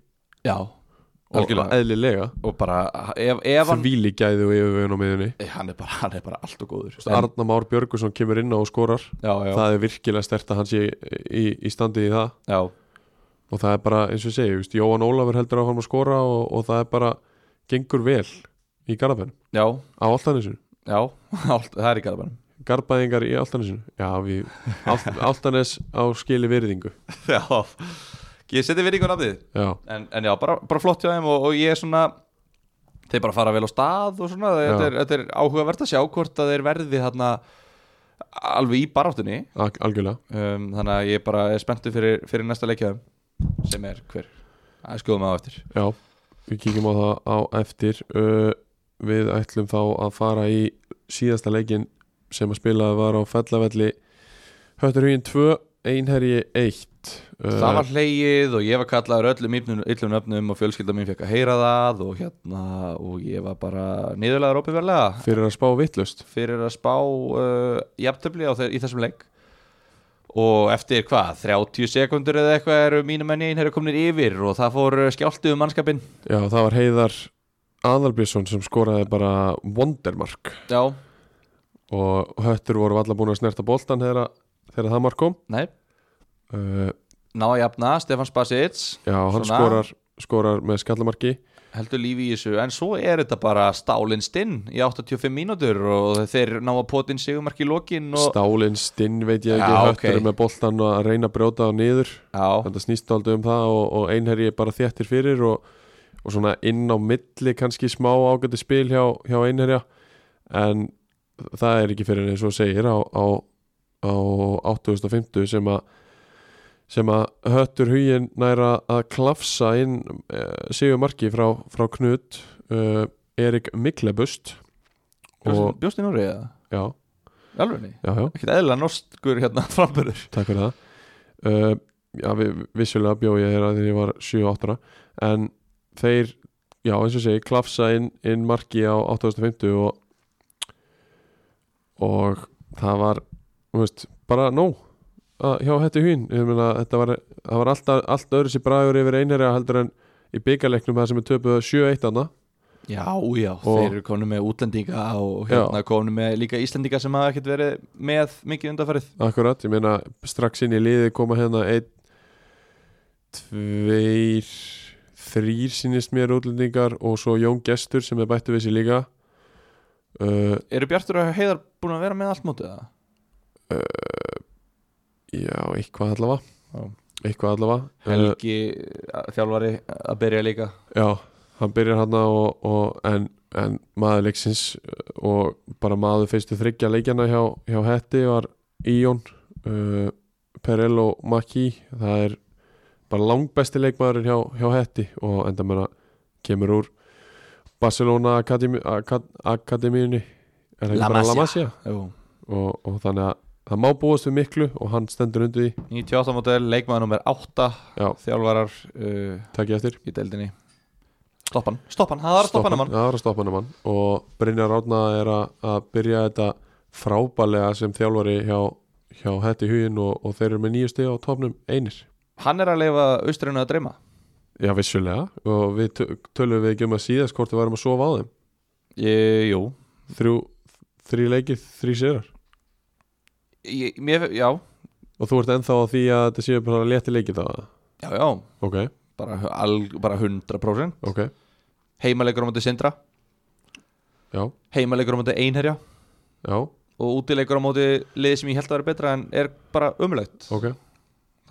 Já, og algjörlega eðlilega Og bara, ef, ef hann því líkæði og yfirvegin á miðunni Nei, Eh, hann er, bara, hann er bara allt og góður en, Arna Már Björgusson kemur inn á og skorar Já, já, það er virkilega stert að hann sé í, í, í standi í það já og það er bara eins og ég segi, viðst, Jóhann Ólafur heldur á hann að skora og, og það er bara gengur vel í Garðabænum Já, á Altanesinu, já, allt, það er í garðabænum Garðbæðingar í Altanesinu já, við, Alt, Altanes á skili virðingu Já, ég seti verið ykkur nafnið já, en, en já, bara, bara flott hjá þeim og, og ég er svona þeir bara fara vel á stað og svona þetta Já. er, þetta er áhugavert að sjá hvort að þeir verði þarna alveg í baráttunni al- algjörlega um, þannig að ég bara er spenntu fyrir, fyrir næsta leikjaðum sem er hver að skoðum að á eftir já, við kíkjum á það á eftir uh, við ætlum þá að fara í síðasta leikin sem að spilaði var á fellavelli Hötturhugin 2, Einherji 1 uh, það var hleyið og ég var kallaður öllum yllum, yllum öfnum og fjölskylda mín fekk að heyra það og hérna og ég var bara niðurlegaður ópifjörlega fyrir að spá vittlust fyrir að spá uh, jafntöfli á þe í þessum leik og eftir hvað, 30 sekundur eða eitthvað eru mínum enn einn eru kominir yfir og það fór uh, skjálftið um mannskapin Já, það var Heiðar Aðalbjörnsson sem skoraði bara Wondermark já, og höttur voru allar búin að snerta boltan þegar, þegar það mark kom nei, uh, ná að jafna Stefan Spasic Já, hann Svona. skorar, skorar með skallamarki heldur lífi í þessu, en svo er þetta bara stálinn stinn í 85 mínútur og þeir ná að potin sigumark í lokin og, Stálinn stinn veit ég ekki, Já, höttur ok. er með boltan og að reyna að brjóta á niður já, þetta snýst aldrei um það og, og einherji er bara þéttir fyrir og, og svona inn á milli kannski smá ágæti spil hjá, hjá einherja en það er ekki fyrir eins og þú segir á, á, á 8.50 sem að sem að höttur hugin næra að klafsa inn uh, sigur marki frá, frá Knut uh, Erik Miklebust og bjóst í Nóri eða? já, alveg ný, já, já, ekkert eðla norskur hérna framburður takk fyrir það uh, já, við, vissulega bjó ég þeirra þegar ég var 7-8 ára. en þeir, já eins og segi klafsa inn, inn marki á 8.50 og og það var þú veist, bara nóg að- hjá hætti hún meina, þetta var, það var allt, allt öðru sér bragur yfir einherja heldur en í byggarleiknum það sem er töpuð 7-1 anna Já, já, Og- þeir eru konu með útlendinga og hérna konu með líka Íslendinga sem hafa ekkert verið með mikið undanfarið Akkurat, ég meina strax inn í liði koma hérna einn, tveir, þrýr sínist mér útlendingar og svo Jón Gestur sem er bættu við sér líka uh, Eru Bjartur og Heiðar búin að vera með allt mótið það? Já, eitthvað allavega Já. Eitthvað allavega uh, Helgi uh, þjálfari að byrja líka Já, hann byrjar hann og, og, en, en maður leiksins uh, og bara maður feistu þryggja leikjana hjá, hjá Hetti var Íon uh, Perel og Maki það er bara langbesti leikmaðurinn hjá, hjá Hetti og enda meina kemur úr Barcelona Akademi, Akad, Akademíunni er það ekki La bara La Masia. Masia Jú. og, og þannig að það má búast við miklu og hann stendur undir því 98 mótel, leikmaður nummer 8 Já. þjálfarar uh, takk ég eftir í deildinni Stoppan, stoppan, það er stoppan að mann Já, það er að stoppa hann mann og Brynjar Árna er að, að byrja þetta frábælega sem þjálfari hjá, hjá hætti huginn og, og þeir eru með nýju stig á topnum einir Hann er að leifa austrinu að dreyma Já, vissulega og við tö- tölum við ekki um að síðast hvort við varum að sofa á þeim ég, Jú, Þrjú, þrjú leikið, þrjú sigrar ég, mér, já, og þú ert ennþá á því að þetta séu bara leti leikið það já, já Ok, bara, al, bara 100% ok, Heimalegur á móti Sindra já, Heimalegur á móti Einherja já, og útileikur á móti liði sem ég held að vera betra en er bara umlögt ok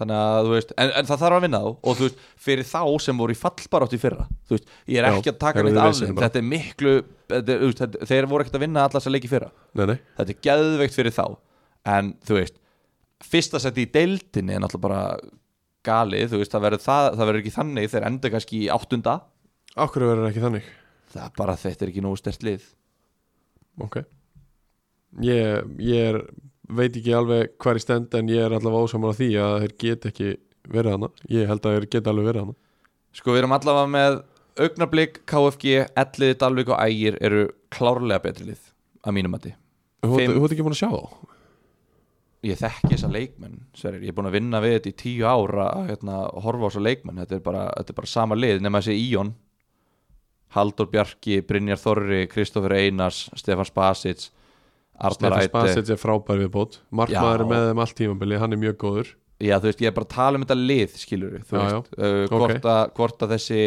þannig að þú veist, en, en það þarf að vinna þá og þú veist, fyrir þá sem voru í fallbarátt í fyrra þú veist, ég er Já, ekki að taka þeir neitt eru af veseni þeim bara. þetta er miklu, þetta, er- þú veist, þetta, þeir voru ekkert að vinna allas að leiki fyrra, Nei, nei, þetta er geðveikt fyrir þá en þú veist fyrsta seti í deildinni er náttúrulega bara galið, þú veist, það verður, það, það verður ekki þannig þeir enda kannski í áttunda okkur verður ekki þannig það er bara þetta er ekki nógu stert lið Ok Ég, ég er, veit ekki alveg hver í stend en ég er allavega ósamar á því að þeir get ekki verið hana Ég held að þeir geta alveg verið hana sko við erum allavega með augnablík, KFG, Elliði, Dalvik og Ægir eru klárlega betri lið að mínum mati Þú Fimm. þú ert ekki búin að sjá þá? ég þekki þessa leikmenn sverir. ég er búin að vinna við þetta í tíu ára að hérna, horfa á þessa leikmenn þetta er bara, þetta er bara sama lið nema þessi Íon Haldur Bjarki, Brynjar Þorri Kristoffer Einars, Stefan Spasic Arnar Stefan Ætti Spasic er frábær viðbót Markmaður Já. er með þeim allt tímabili, hann er mjög góður já, þú veist, ég er bara að tala um þetta lið skilur við, þú Já, veist Uh, hvort, Ok. að, hvort að þessi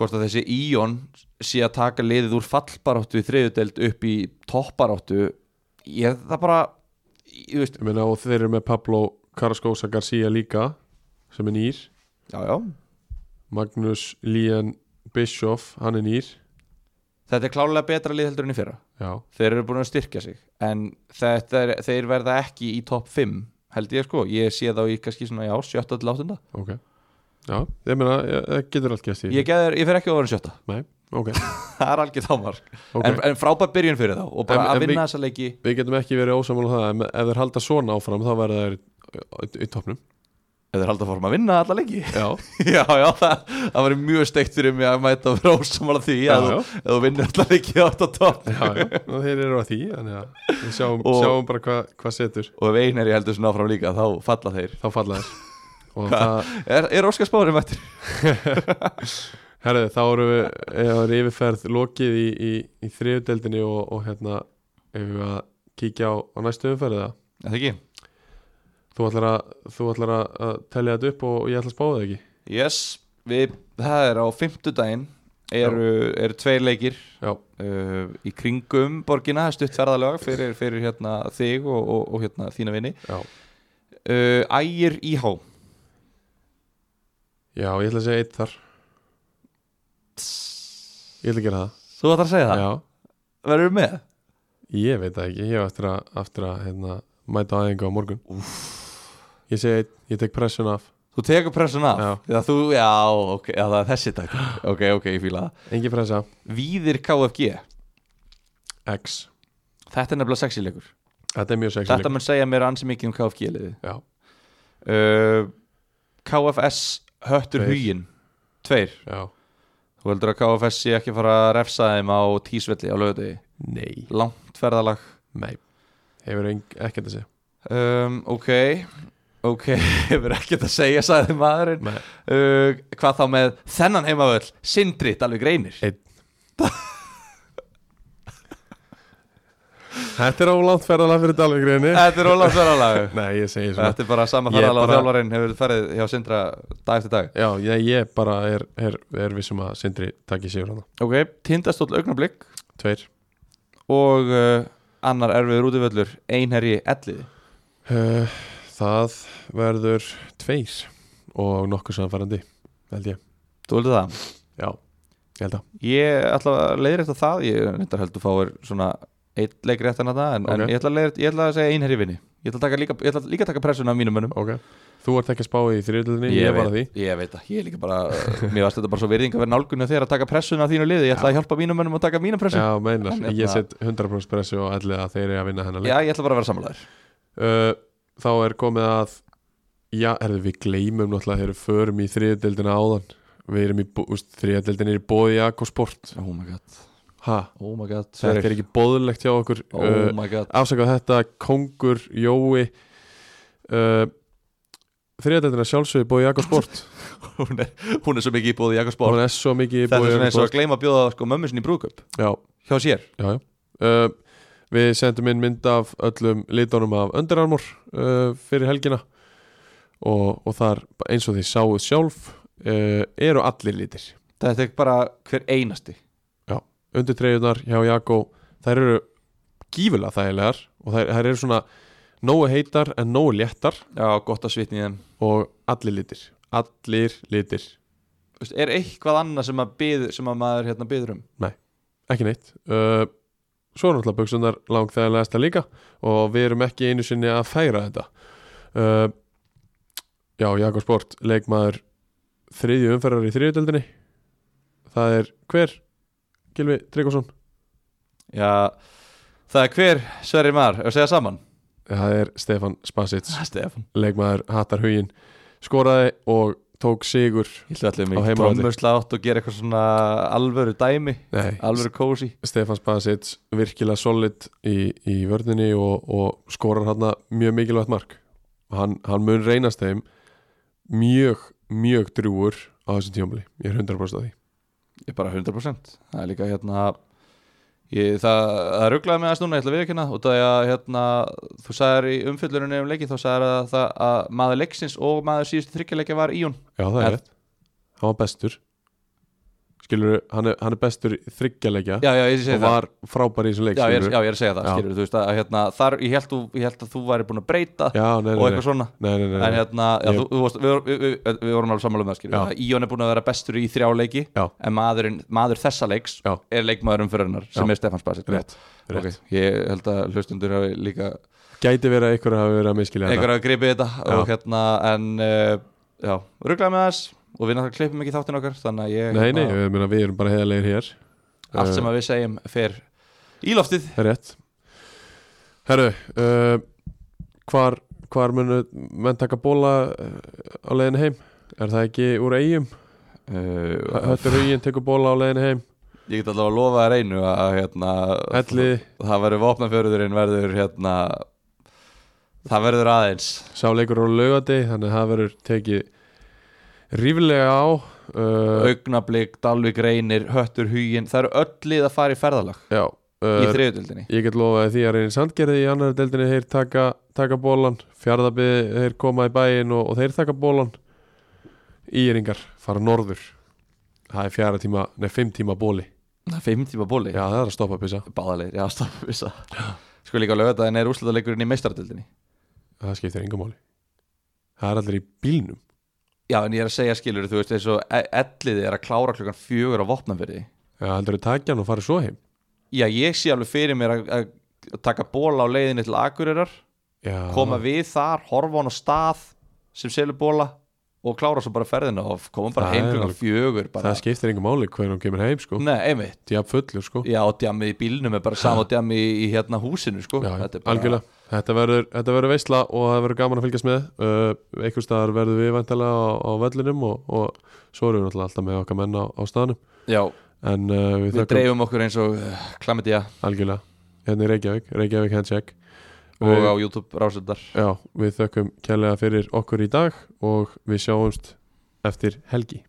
hvort að þessi Íon sé að taka liðið úr fallbaráttu í þriðudeld upp í toppbaráttu ég það bara ég veist, Ég meina og þeir eru með Pablo Carrascosa Garcia líka sem er nýr já, já Magnus Lían Bischoff, hann er nýr þetta er klálega betra lið heldur enn í fyrra Já, þeir eru búin að styrkja sig en þetta er, þeir verða ekki í topp 5 held ég sko, ég sé þá í kannski svona já, sjötta til áttunda ok Já, ég meina, ég- það getur allt gæst í ég, geður, ég fer ekki ofar en sjötta, Nei, ok, það er algjörð ámark ok en, en frábær byrjun fyrir þá og bara En- en að vinna við- þessa leiki Við getum ekki verið ósamála það en ef þeir halda svona áfram þá verða þeir í- í topnum ef þeir halda að fórum að vinna alla leiki Já, já, já, það, það var mjög steikt fyrir mig að mæta að vera ósamála því já, að já, þú, ef þú vinnur alla leiki átt á topp já, og þeir eru að því þannig að við sjáum, Og- sjáum bara hvað hva setur og ef einn er ég heldur svona áfram líka þá falla þeir þá falla þeir og það, er, er Óskar Spári mættur? herðu, þá eru við eða er yfirferð lokið í, í, í þriðudeldinni og, og hérna ef við að kíkja á, á næstu umferðið Er það ekki? þú ætlar að, þú ætlar að, að telja þetta upp og ég ætla að spá það ekki Yes, við, það er á fimmtudaginn eru, eru tveir leikir Já, uh, í kringum borgina, stutt ferðalag fyrir, fyrir hérna, þig og, og, og hérna, þína vini já, uh, Ægir IH já, ég ætla að segja eitt þar ég ætla að gera það, Þú ætlar að segja það? já Verður með? Ég veit það ekki, ég hef eftir að, eftir að hérna, mæta á aðeingu á morgun Úf. Ég segi, einn, ég tek pressun af Þú tekur pressun af? Já. Já, þú, já, ok, já, það er þessi takk Ok, ok, ég fíla það Engi pressa, Víðir KFG, X þetta er nefnilega sexy leikur Þetta er mjög sexy Þetta mun segja mér ansi mikið um KFG liði Já, uh, KFS höttur Tveir. hugin Tveir já Þú heldur að KFS sé ekki að fara að refsa þeim á tísvelli á lögudegi Nei, Langt ferðalag nei Hefur eng, ekkert að segja um, Ok Ok, hefur ekkert að segja sagði maðurinn Nei. uh, Hvað þá með þennan heimavöll Sindri, alveg reynir Einn. Þetta er á langt ferðalega fyrir Dalvigriðinni Þetta er Ólafs ferðalag Nei, ég segi svona Þetta er bara sama Ég er ferðalag og bara- þjálfarinn hefur farið hjá Sindra dag eftir dag Já, ég, ég bara er, er, er vissum að Sindri takki sigur hana Ok, tindastóll augnablik Tveir og uh, annar erfiður útivöllur einherji elliði uh, Það verður tveir og nokkuð samfærandi held ég, Þú heldur það? já, ég held að Ég ætla að leiðir eftir það Ég reyndar heldur fáir svona eitt leik rétt en þetta en, en Ok. ég, ætla að leiðir, ég ætla að segja einherji vinni Ég ætla að taka líka, ég ætla líka að taka pressuna á mínum mönnum Ok, þú ert ekki að spá í þriðlunni, ég, var að því veit, ég veit það, ég er líka bara Mér varst þetta bara svo virðing að vera nálgunni þér að taka pressuna á þínu liði, ég ætla að hjálpa mínum mönnum að taka mína pressu Já, Já, meinar, En ég hérna- set 100% pressu og allir að þeir eru að vinna hennar leik ég ætla bara að vera samlæður uh, Þá er komið að Já, erðu við gleymum náttúrulega þegar við förum í þriðdeldina áðan Við erum í, bú- úst, þriðdeldin er í bóði Jakko Sport Oh my god, Ha, oh my god þetta er ekki bóðlegt hjá okkur Uh, Oh my god afsakað þetta, Kongur, Jói uh, Þriðdeldina sjálfsögði bóði Jakko Sport hún er, hún er svo mikið í bóði Jakobsborg Hún er svo mikið í Þetta bóði er Jakko svona eins og að Sport gleyma að bjóða sko, mömmu sinni í brúðköp Já, hjá sér já, já. Uh, við sendum inn mynd af öllum litunum af Under Armour uh, fyrir helgina og, og þar eins og þið sáuð sjálf uh, eru allir litir Þetta er bara hver einasti undir treyjunar hjá Jakko þær eru gífulega þægilegar og þær, þær eru svona nógu heitar en nógu léttar Já, gott að svitni í þeim og allir litir allir litir, Þú veist, Er eitthvað annað sem, að bið, sem að maður hérna byður um? ekki neitt uh, svo er náttúrulega buksunar langþægilegasta líka og við erum ekki einu sinni að færa þetta uh, Já, Jakob Sport leikmaður þriðju umferðar í þriðutöldinni það er hver Gilvi Tryggvason Já, það er hver Sverri Mar, ef segja saman það er Stefan Spasic Stefan leikmaður hattar hugin skoraði og tók sigur Ég ætla Á allir mig heimavelli. átt og gera eitthvað svona alvöru dæmi Nei, Alvöru kósi Stefan Spasic virkilega solid í, í vörninni og, og skorar hann mjög mikilvægt mark hann, hann mun reynast þeim mjög, mjög drúur á þessum tímabili, ég er 100% af því Ég er bara 100% Það er líka hérna ég, Það, það rugglaði mig aðeins núna, ég ætla að viðkynna Og það er að hérna, þú sagðir í umfyllurinni um leiki Þá sagðir að, það, að maður leiksins og maður síðustu þryggjarleikja var í hún Já, það Er- er rétt, hann var bestur skilur, hann er, hann er bestur þryggjaleikja Já, já, ég segi og það var frábær í þessum leik já ég, er, skilurðu. já, ég er að segja það, Já. skilur þú veist að hérna, þar, ég held, þú- ég held að þú væri búin að breyta já, nei, og nei, eitthvað svona nei, nei, nei, nei, En nei. hérna, já, Ég- þú, þú varst, við, við, við, við vorum alveg sammála um það skilur Já. við. Íon er búin að vera bestur í þrjá leiki Já. En maðurinn, maður þessa leiks Já. er leikmaður umfyririnnar sem Já. er Stefán Spasic rétt, rétt. Ok, Ég held að hlustundur hafi líka gæti verið að ykkur hafi verið að miskilja þetta. einhver að gripi þetta og hérna en uh, já, rugglaði með þess og við náttúrulega klippum ekki þáttinn okkar þannig að ég, Nei, nei, hérna, ég meina, við erum bara heiðarlegir hér allt sem að við segjum fer í loftið Það er rétt Herru, uh, hvar, hvar munu menn taka bóla uh, á leiðin heim? Er það ekki úr eigum? uh, Höttur huginn tekur bóla á leiðin heim ég get allavega að lofa þér einu að hérna, Elli, það verður vopnafjörðurinn verður hérna það verður aðeins sáleikur á laugati Þannig að það verður tekið ríflega á uh, augnablík, Dalvik reynir, höttur hugin það eru öll lið að fara í ferðalag Já í uh, þriðutöldinni Ég get lofaði því að reynir sandgerði í annar deildinni þeir taka, taka bólan Fjarðabið þeir koma í bæinn og, og þeir taka bólan Íringar fara norður Það er fjara tíma, nei fimm tíma bóli það er fimm tíma bóli, Já það er að stoppa pissa báðalegir, já, stofn vissa sko líka lögða það en er úrslutaleikurinn í meistartöldinni Það skiptir engum máli Það er allir í bílnum já, en ég er að segja skilur, þú veist, eins og e- elliði er að klára klokkan fjögur á vopnafjörði Já heldur þau takja hann og fara svo heim já, ég sé alveg fyrir mér að, að taka bóla á leiðinni til Akureyrar Já, koma við þar, horfa hann á stað sem selur bóla og klára svo bara ferðina og koma bara Það heim er klukkan alveg- fjögur bara. Það skiptir engum máli hvernig hún kemur heim sko Nei, einmitt Djab fullur sko Já, og djamið í bílnum er bara sama og djamið í, í hérna húsinu sko. Já, Þetta er bara- algjörlega Þetta verður, þetta verður veisla og það verður gaman að fylgjast með uh, einhvers staðar verður við vantilega á, á vellinum og, og svo erum við náttúrulega alltaf með okkar menn á, á staðnum Já, en uh, við, við þökkum dreifum okkur eins og uh, klamidja algjörlega hérna í Reykjavík, Reykjavík Handshake og á YouTube rásöldar Já, við þökkum kærlega fyrir okkur í dag og við sjáumst eftir helgi